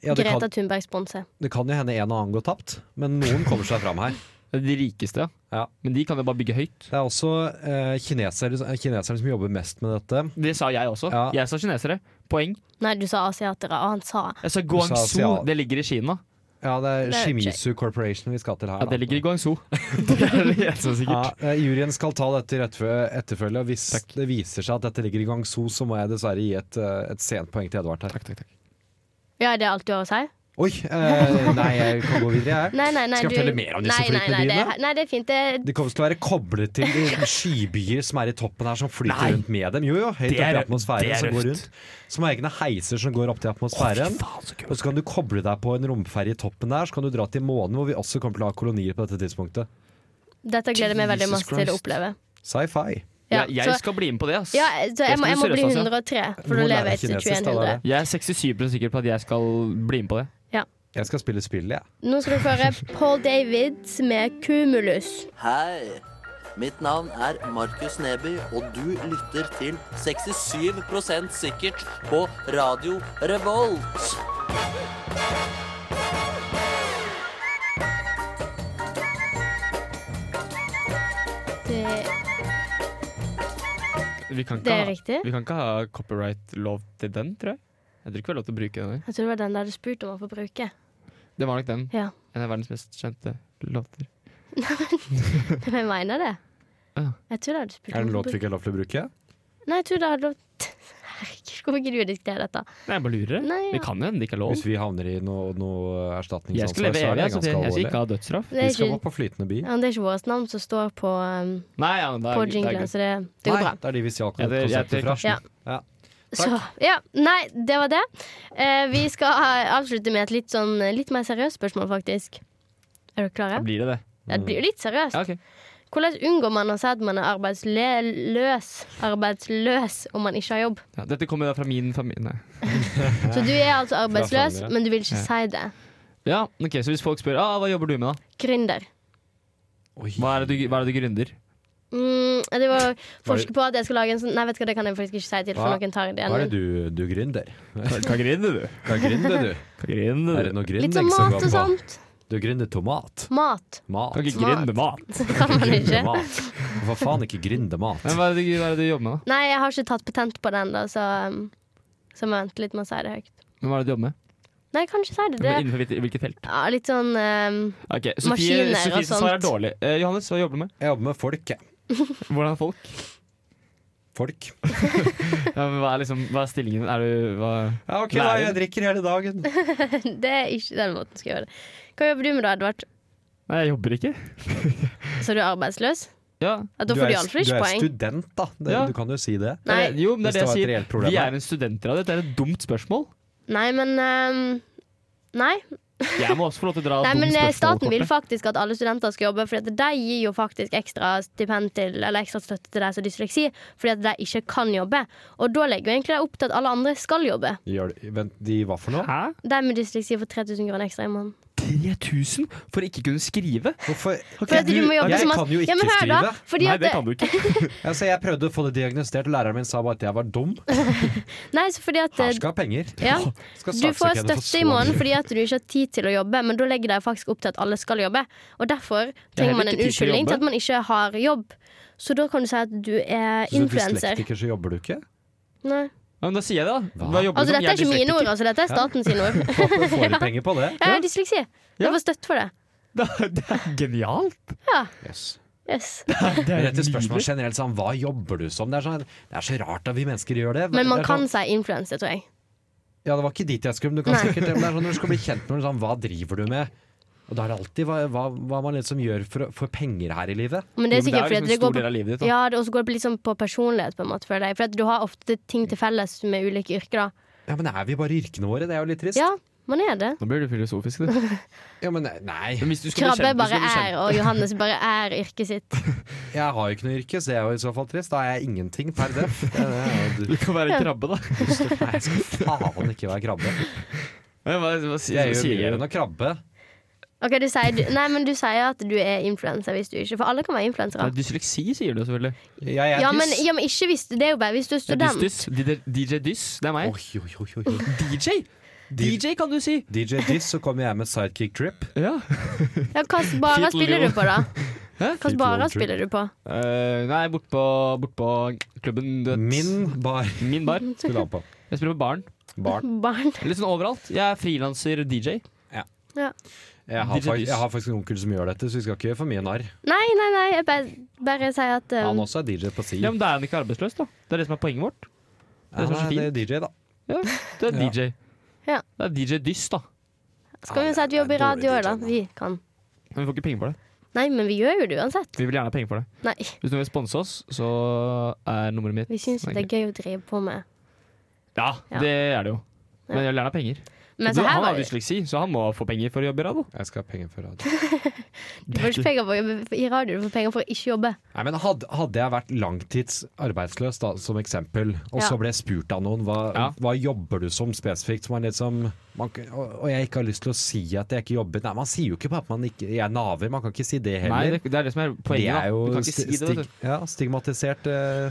Speaker 4: Ja, det,
Speaker 3: Greta
Speaker 4: kan,
Speaker 3: Thunberg-sponse.
Speaker 4: det kan jo hende en og annen går tapt, men noen kommer seg fram her.
Speaker 2: De rikeste,
Speaker 4: Ja.
Speaker 2: Men de kan jo bare bygge høyt.
Speaker 4: Det er også eh, kinesere, kineserne som jobber mest med dette.
Speaker 2: Det sa jeg også.
Speaker 4: Ja.
Speaker 2: Jeg sa kinesere. Poeng.
Speaker 3: Nei, du sa asiatere, og han sa
Speaker 2: Jeg sa
Speaker 4: Du
Speaker 2: Guangzhou.
Speaker 4: sa Asia.
Speaker 2: Det ligger i Kina.
Speaker 4: Ja, det er
Speaker 3: Det er
Speaker 4: Shimizu Corporation vi skal til her.
Speaker 2: Ja, det
Speaker 4: da.
Speaker 2: ligger i Guangzhou. det er det eneste
Speaker 4: Ja,
Speaker 2: sikkert.
Speaker 4: eh, juryen skal ta dette i rettfø- etterfølge, og hvis
Speaker 2: Takk.
Speaker 4: det viser seg at dette ligger i Guangzhou, så må jeg dessverre gi et, eh, et sent poeng til Edvard her.
Speaker 2: Takk, takk, takk.
Speaker 3: Ja, det er alt du har å si?
Speaker 4: Oi! eh, nei, jeg kan gå videre, jeg.
Speaker 3: Nei, nei, nei.
Speaker 4: Skal jeg
Speaker 3: du-
Speaker 4: fortelle mer om disse
Speaker 3: Nei, nei,
Speaker 4: flytende
Speaker 3: nei, det er-
Speaker 4: byene?
Speaker 3: Nei, det er fint. Det,
Speaker 4: De kommer til å være koblet til de skybyer som er i toppen her, som flyter
Speaker 2: Nei.
Speaker 4: rundt med dem. Jo, jo, høyt
Speaker 2: Det er
Speaker 4: opp
Speaker 2: røft.
Speaker 4: i
Speaker 2: Det
Speaker 4: atmosfæren
Speaker 2: er
Speaker 4: som går
Speaker 2: røft.
Speaker 4: rundt. Som har egne heiser som går opp til atmosfæren.
Speaker 2: faen, så
Speaker 4: Og så kan du koble deg på en romferje i toppen der, så kan du dra til månen, hvor vi også kommer til å ha kolonier på dette tidspunktet.
Speaker 3: dette gleder jeg meg veldig
Speaker 2: Jesus
Speaker 3: masse til å
Speaker 2: Christ.
Speaker 3: oppleve.
Speaker 4: Sci-fi.
Speaker 3: Ja,
Speaker 2: Ja, jeg
Speaker 3: så-
Speaker 2: skal bli med på det. ass.
Speaker 3: Ja, så jeg må, jeg må bli
Speaker 2: Sørøst-Asia.
Speaker 3: 103, for
Speaker 4: altså. Du må
Speaker 3: da
Speaker 4: lære
Speaker 3: lever jeg til
Speaker 4: kinesisk, da,
Speaker 3: 2100.
Speaker 2: Jeg er 67 sikker på at jeg skal bli med på det.
Speaker 4: Jeg skal spille spillet, jeg.
Speaker 3: Nå skal du føre Paul Davids med Cumulus.
Speaker 9: Hei! Mitt navn er Markus Neby, og du lytter til 67 sikkert på Radio Revolt.
Speaker 3: Det,
Speaker 2: Vi kan
Speaker 3: det
Speaker 2: ikke,
Speaker 3: er
Speaker 2: ha,
Speaker 3: riktig.
Speaker 2: vi kan ikke ha copyright-lov til den, tror jeg. Jeg tror ikke vi har lov til å bruke den. jeg.
Speaker 3: Jeg tror det var den der du spurte om å få bruke.
Speaker 2: Det var nok den.
Speaker 3: Ja.
Speaker 2: En av verdens mest kjente låter.
Speaker 3: Men jeg mener det.
Speaker 2: Ja.
Speaker 3: Jeg tror det hadde spurt
Speaker 4: Er det
Speaker 3: om
Speaker 4: en
Speaker 3: å
Speaker 4: låt
Speaker 3: få
Speaker 4: vi ikke har lov til å bruke?
Speaker 3: bruke- Nei, jeg tror det hadde lov Herregud, hvorfor ikke du diskutere dette?
Speaker 2: Nei, jeg bare lurer.
Speaker 3: Nei, ja.
Speaker 2: Det kan jo hende det ikke er lov.
Speaker 4: Hvis vi havner i noe, noe
Speaker 2: Jeg skal
Speaker 4: erstatningsansvar,
Speaker 2: leve
Speaker 4: så er
Speaker 2: evig.
Speaker 4: det
Speaker 2: altså, Jeg jeg
Speaker 4: ganske
Speaker 2: skal
Speaker 4: alvorlig.
Speaker 2: ikke ha dødsstraff.
Speaker 3: Det
Speaker 4: Vi
Speaker 3: er
Speaker 4: skal gå
Speaker 3: ikke,
Speaker 4: på flytende by.
Speaker 3: ja, det er ikke vårt navn som står på, um,
Speaker 2: Nei, ja, men da,
Speaker 3: på
Speaker 2: det er
Speaker 3: jinglen,
Speaker 2: greit.
Speaker 3: så det, det går
Speaker 4: Nei,
Speaker 3: bra.
Speaker 4: det er de vi stjal
Speaker 2: Ja, det- jeg-
Speaker 4: konseptet
Speaker 2: det-
Speaker 4: fra.
Speaker 3: Ja. Så, ja, nei, det var det. Eh, vi skal eh, avslutte med et litt, sånn, litt mer seriøst spørsmål, faktisk. Er dere klare?
Speaker 2: Da blir det det.
Speaker 3: Ja, det blir jo litt seriøst.
Speaker 2: Ja, ok.
Speaker 3: Hvordan unngår man å si at man er arbeidsløs, arbeidsløs om man ikke har jobb?
Speaker 2: Ja, dette kommer da fra min familie. Nei.
Speaker 3: Så du er altså arbeidsløs,
Speaker 4: Fra familie.
Speaker 3: men du vil ikke
Speaker 2: Ja.
Speaker 3: si det.
Speaker 2: Ja, ok, Så hvis folk spør ah, hva jobber du med, da?
Speaker 3: Gründer.
Speaker 2: Hva er det du, hva er det du gründer?
Speaker 3: Mm, det var forske på at jeg skulle lage en sånn Nei, vet du hva, det kan jeg faktisk ikke si til, for
Speaker 4: Hva-
Speaker 3: noen tar ideen
Speaker 4: Hva er det
Speaker 3: min.
Speaker 4: du, du gründer?
Speaker 2: Hva gründer du?
Speaker 4: Hva gründer du?
Speaker 2: Hva gründer
Speaker 4: Er det
Speaker 2: du?
Speaker 4: noe
Speaker 3: Litt
Speaker 4: gründing
Speaker 3: sånn
Speaker 4: som
Speaker 3: mat
Speaker 4: går
Speaker 3: og
Speaker 4: på?
Speaker 3: sånt.
Speaker 4: Du gründer tomat.
Speaker 3: Mat.
Speaker 4: Mat.
Speaker 2: Kan ikke grinde mat.
Speaker 3: Det kan man
Speaker 4: Grinde
Speaker 3: ikke.
Speaker 4: mat. Hva faen ikke grinde mat?
Speaker 2: Men hva er, det, du- hva er det du jobber med, da?
Speaker 3: Nei, jeg har ikke tatt patent på den, da, så, um, så må jeg vente litt med å si det høyt.
Speaker 2: Men Hva er det du jobber med?
Speaker 3: Nei, jeg kan ikke si det. det
Speaker 2: Men Innenfor hvilket- hvilket felt?
Speaker 3: ja, litt sånn um,
Speaker 2: Ok,
Speaker 3: Maskiner
Speaker 2: Sofie,
Speaker 3: og
Speaker 2: Sofie som
Speaker 3: sånt.
Speaker 2: svarer dårlig. Eh, Johannes, hva jobber du med?
Speaker 4: Jeg jobber med folk, jeg.
Speaker 2: Hvordan er folk?
Speaker 4: Folk.
Speaker 2: Ja, men hva, er liksom, hva er stillingen? Er du hva
Speaker 4: Ja, ok,
Speaker 2: Lærer.
Speaker 4: da, jeg drikker hele dagen.
Speaker 3: Det er ikke den måten du skal gjøre det. Hva jobber du med da, Edvard?
Speaker 2: Nei, jeg jobber ikke.
Speaker 3: Så du er arbeidsløs?
Speaker 2: Ja.
Speaker 3: Ja, da
Speaker 4: Du
Speaker 3: får du
Speaker 4: er, du
Speaker 3: iallfall ikke
Speaker 4: er
Speaker 3: poeng.
Speaker 4: student, da. Det,
Speaker 2: Ja.
Speaker 4: Du kan jo si det.
Speaker 3: Nei,
Speaker 2: Eller, jo, men det er
Speaker 4: Hvis
Speaker 2: det
Speaker 4: det var
Speaker 2: jeg
Speaker 4: et reelt
Speaker 2: sier.
Speaker 4: problem,
Speaker 2: Vi
Speaker 4: da.
Speaker 2: er en studentradio. Dette er et dumt spørsmål.
Speaker 3: nei, men um, Nei,
Speaker 2: Jeg må også få lov til å dra
Speaker 3: nei men eh, staten vil
Speaker 2: dumspørsmålkortet.
Speaker 3: faktisk at alle studenter skal jobbe, for de gir jo faktisk ekstra stipend til Eller ekstra støtte til de som har dysleksi, fordi at de ikke kan jobbe. Og da legger jo egentlig de opp til at alle andre skal jobbe.
Speaker 4: Gjør det. Vent, de hva for noe?
Speaker 2: Hæ?
Speaker 3: De med dysleksi får 3000 kroner ekstra i måneden.
Speaker 2: 3000 for ikke kunne skrive?
Speaker 4: Hvorfor?
Speaker 3: For at du, må jobbe
Speaker 4: jeg
Speaker 3: som at-
Speaker 4: kan jo ikke
Speaker 3: ja, men hør da,
Speaker 4: skrive.
Speaker 3: fordi
Speaker 2: Nei,
Speaker 3: at
Speaker 2: det kan du ikke.
Speaker 4: Altså, jeg prøvde å få det diagnosert, og læreren min sa bare at jeg var dum.
Speaker 3: Nei, så fordi at
Speaker 4: Her skal penger.
Speaker 3: ja,
Speaker 4: Skal
Speaker 3: Du får
Speaker 4: saksøkerne få så
Speaker 3: støtte i
Speaker 4: mye?
Speaker 3: måneden fordi at du ikke har tid til å jobbe, men da legger de faktisk opp til at alle skal jobbe. Og derfor trenger man
Speaker 2: ikke
Speaker 3: en
Speaker 2: tid til å
Speaker 3: unnskyldning til
Speaker 2: jobbe.
Speaker 3: at man ikke har jobb. Så da kan du si at du er
Speaker 4: Så du er
Speaker 3: influenser.
Speaker 4: Dyslektiker, så jobber du ikke?
Speaker 3: Nei.
Speaker 2: Ja, men da sier jeg det, sånn da. Hva
Speaker 4: Hva?
Speaker 2: jobber du
Speaker 3: Altså,
Speaker 2: som?
Speaker 3: dette er
Speaker 2: Jeg
Speaker 3: ikke mine ord, altså. Dette er staten sine ord.
Speaker 4: Får får du penger på det?
Speaker 3: Jeg har dysleksi.
Speaker 2: Ja.
Speaker 3: Jeg får støtte for det.
Speaker 2: dyslektiker. Det er genialt.
Speaker 4: Yes.
Speaker 3: Yes.
Speaker 2: Det
Speaker 4: Men
Speaker 2: er
Speaker 4: dette spørsmålet
Speaker 2: nydelig.
Speaker 4: generelt sånn, hva jobber du som? Det er, sånn, det er så rart at vi mennesker gjør det.
Speaker 3: Men man
Speaker 4: det er
Speaker 3: kan
Speaker 4: sånn,
Speaker 3: si influenser, tror jeg.
Speaker 4: Ja, det var ikke dit jeg skulle, men du kan
Speaker 3: Nei.
Speaker 4: sikkert det. Men det er sånn, når du skal bli kjent med noen, sånn, hva driver du med? Og da er det alltid hva, hva, hva man liksom gjør for, å- for penger her i livet.
Speaker 3: Men det er
Speaker 2: Jo, men
Speaker 3: sikkert
Speaker 2: det er jo
Speaker 3: fordi at
Speaker 2: liksom
Speaker 3: det
Speaker 2: en stor
Speaker 3: går
Speaker 2: del av
Speaker 3: på
Speaker 2: livet ditt. Da.
Speaker 3: ja, det- og så går det på litt sånn på personlighet, på en måte, føler jeg. For at du har ofte ting til felles med ulike yrker, da.
Speaker 4: Ja, men er vi bare i yrkene våre? Det er jo litt trist.
Speaker 3: Ja, man er det.
Speaker 2: Nå blir du filosofisk, du.
Speaker 4: Ja, men nei,
Speaker 2: Men hvis du skal bli
Speaker 3: Krabbe
Speaker 2: kjent,
Speaker 3: bare
Speaker 2: hvis du skal bli
Speaker 3: er, og Johannes bare er yrket sitt.
Speaker 4: jeg har jo ikke noe yrke, så det er jo i så fall trist. Da er jeg ingenting per def. Det er jo
Speaker 2: kjent. Du kan være en krabbe, da.
Speaker 4: dust. Nei, jeg skal faen ikke være krabbe.
Speaker 2: Men Hva, hva sier,
Speaker 4: Jeg
Speaker 2: sier jeg
Speaker 4: gjør mye
Speaker 2: da?
Speaker 4: enn å krabbe.
Speaker 3: Ok, du sier, du, nei, men du sier at du er influenser hvis du ikke For alle kan være
Speaker 2: Det
Speaker 3: influensere.
Speaker 2: er dysleksi, sier du selvfølgelig.
Speaker 4: Jeg er
Speaker 3: Ja, men,
Speaker 4: dyss.
Speaker 3: ja, men ikke hvis Det er jo bare hvis du er
Speaker 2: Dyss,
Speaker 3: student.
Speaker 2: dyss. DJ DJ Dyss, det er meg.
Speaker 4: Oi, oi, oi, oi, oi.
Speaker 2: DJ! DJ kan du si!
Speaker 4: DJ Diss, så kommer jeg med sidekick trip.
Speaker 2: Ja.
Speaker 3: Ja, Hva
Speaker 2: Fiddle
Speaker 3: barer spiller du
Speaker 2: jo.
Speaker 3: på, da? Hva
Speaker 4: Fiddle
Speaker 3: barer
Speaker 4: jo,
Speaker 3: spiller du på?
Speaker 2: Eh, nei, bortpå bort på klubben du vet.
Speaker 4: Min bar
Speaker 2: Min bar.
Speaker 4: skulle han på.
Speaker 2: Jeg spiller på baren.
Speaker 4: Barn.
Speaker 3: Barn?
Speaker 2: Litt sånn overalt. Jeg er frilanser-DJ.
Speaker 4: Jeg har,
Speaker 2: DJ
Speaker 4: fak
Speaker 2: Diss.
Speaker 4: jeg har faktisk en onkel som gjør dette, så vi skal ikke gjøre for mye narr.
Speaker 3: Nei, nei, nei. Jeg bare, bare sier at um,
Speaker 4: Han også er DJ på si.
Speaker 2: Ja, men da er han ikke arbeidsløs, da. Det er det som er poenget vårt.
Speaker 4: Ja,
Speaker 2: som er så
Speaker 4: nei, det er DJ, da.
Speaker 2: Det er
Speaker 4: Ja.
Speaker 2: DJ.
Speaker 3: Ja.
Speaker 2: Det er DJ Dyss, da.
Speaker 3: Skal vi si at vi jobber i radio,
Speaker 4: Dårlig DJ,
Speaker 3: da?
Speaker 4: da.
Speaker 3: Vi kan.
Speaker 2: Men vi får ikke penger for det.
Speaker 3: Nei, men vi gjør jo det uansett.
Speaker 2: Vi vil gjerne ha penger for det.
Speaker 3: Nei.
Speaker 2: Hvis noen vil sponse oss, så er nummeret mitt Sånn
Speaker 3: Vi syns jo det er gøy å drive på med.
Speaker 2: Ja,
Speaker 3: Ja.
Speaker 2: det er det jo. Men
Speaker 3: Ja.
Speaker 2: jeg vil gjerne ha penger.
Speaker 3: Men
Speaker 2: Du,
Speaker 3: så her
Speaker 2: han
Speaker 3: var
Speaker 2: har
Speaker 3: det
Speaker 2: dysleksi, så han må få penger for å jobbe i radio.
Speaker 4: Jeg skal ha penger for radio.
Speaker 3: Du får ikke penger for å jobbe i radio, du får penger for å ikke jobbe.
Speaker 4: Nei, men hadde, hadde jeg vært langtids arbeidsløs, da, som eksempel, og
Speaker 3: Ja.
Speaker 4: så ble jeg spurt av noen hva,
Speaker 2: Ja.
Speaker 4: hva jobber du som spesifikt, så man liksom, man, k- og, og jeg ikke har lyst til å si at jeg ikke jobber Nei, man sier jo ikke bare at man ikke jeg er naver, man kan ikke si det
Speaker 2: Nei,
Speaker 4: heller.
Speaker 2: det, det er det som er
Speaker 4: det
Speaker 2: poenget.
Speaker 4: er
Speaker 2: da. Du
Speaker 4: jo
Speaker 2: kan ikke si det,
Speaker 4: stig,
Speaker 2: vet du.
Speaker 4: ja, stigmatisert eh,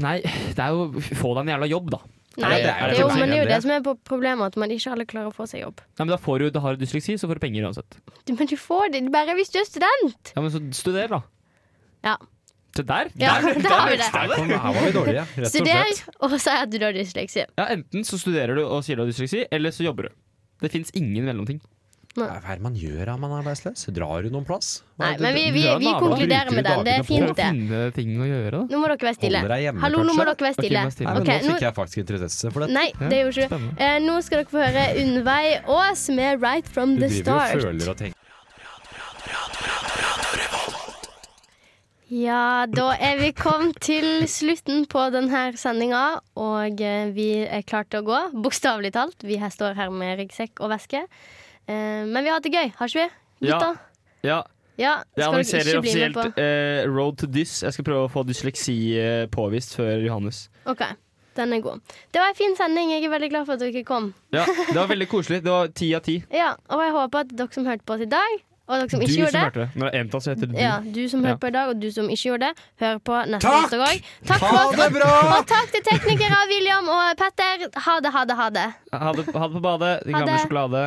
Speaker 2: Nei, det er jo Få deg en jævla jobb, da.
Speaker 3: Nei,
Speaker 4: det er
Speaker 3: det er
Speaker 4: jo
Speaker 3: jo,
Speaker 4: ikke
Speaker 3: men det er jo
Speaker 4: det.
Speaker 3: det som er på problemet, at man ikke alle klarer å få seg jobb.
Speaker 2: Nei, men da får du, da har du dysleksi, så får du penger uansett.
Speaker 3: Du- Men du får det bare hvis du er student!
Speaker 2: Ja, men så studer, da.
Speaker 3: Ja.
Speaker 2: Se der!
Speaker 3: Ja, der har vi det.
Speaker 4: Her, kom, sånn. her var vi dårlige, rett og
Speaker 3: Studer
Speaker 4: slett.
Speaker 3: og si at du har dysleksi.
Speaker 2: Ja, Enten så studerer du og sier du har dysleksi, eller så jobber du. Det fins ingen mellomting.
Speaker 4: Nei, Hva er det man gjør da man er arbeidsløs? Drar du noen plass? Hva
Speaker 3: Nei,
Speaker 4: er det
Speaker 3: men
Speaker 4: du-
Speaker 3: vi, vi,
Speaker 2: drar
Speaker 3: vi
Speaker 2: naboen.
Speaker 3: konkluderer med den. Det er
Speaker 4: Bruker du
Speaker 3: fint,
Speaker 2: Prøv å
Speaker 3: det.
Speaker 2: finne ting å gjøre, da.
Speaker 3: Nå må dere være stille.
Speaker 4: Holder deg hjemme,
Speaker 3: Hallo, nå må dere
Speaker 4: kanskje?
Speaker 3: være
Speaker 2: Ok,
Speaker 3: stille.
Speaker 2: vær stille.
Speaker 4: Nei, men
Speaker 3: Ok,
Speaker 4: nå
Speaker 3: nå-
Speaker 4: fikk jeg faktisk interesse for dette.
Speaker 3: Nei, det gjorde ikke du.
Speaker 2: spennende.
Speaker 3: Eh, nå skal dere få høre Unnveig Aas med 'Right From
Speaker 4: Du
Speaker 3: The
Speaker 4: driver jo og
Speaker 3: Start'.
Speaker 4: føler og tenker.
Speaker 3: Ja, da er vi kommet til slutten på denne sendinga, og eh, vi er klare til å gå. Bokstavelig talt. Vi her står her med ryggsekk og veske. Eh, Men vi har hatt det gøy, har ikke vi?
Speaker 2: Ja.
Speaker 3: Gutta?
Speaker 2: Ja,
Speaker 3: Ja,
Speaker 2: jeg
Speaker 3: skal dere
Speaker 2: annonserer
Speaker 3: ikke bli med på.
Speaker 2: offisielt eh, Road to Dys. Jeg skal prøve å få dysleksi eh, påvist før Johannes.
Speaker 3: OK, den er god. Det var en fin sending. Jeg er veldig glad for at dere kom.
Speaker 2: Ja, Det var veldig koselig. Det var ti av ti.
Speaker 3: Ja, Og jeg håper at dere som hørte på oss i dag, og dere som
Speaker 2: Du
Speaker 3: ikke
Speaker 2: som
Speaker 3: gjorde det
Speaker 2: hørte det. Når det er entall, så heter det du.
Speaker 3: ja, du som
Speaker 2: Ja.
Speaker 3: hørte på i dag, og du som ikke gjorde det, hør på neste
Speaker 4: Takk!
Speaker 3: onsdag òg. Takk
Speaker 4: Ha
Speaker 3: for oss,
Speaker 4: det
Speaker 3: og-
Speaker 4: bra!
Speaker 3: og takk til teknikere William og Petter. Ha det, ha det, ha det.
Speaker 2: Ha det, ha det på badet. Din
Speaker 3: Ha
Speaker 2: gamle
Speaker 3: det.
Speaker 2: sjokolade.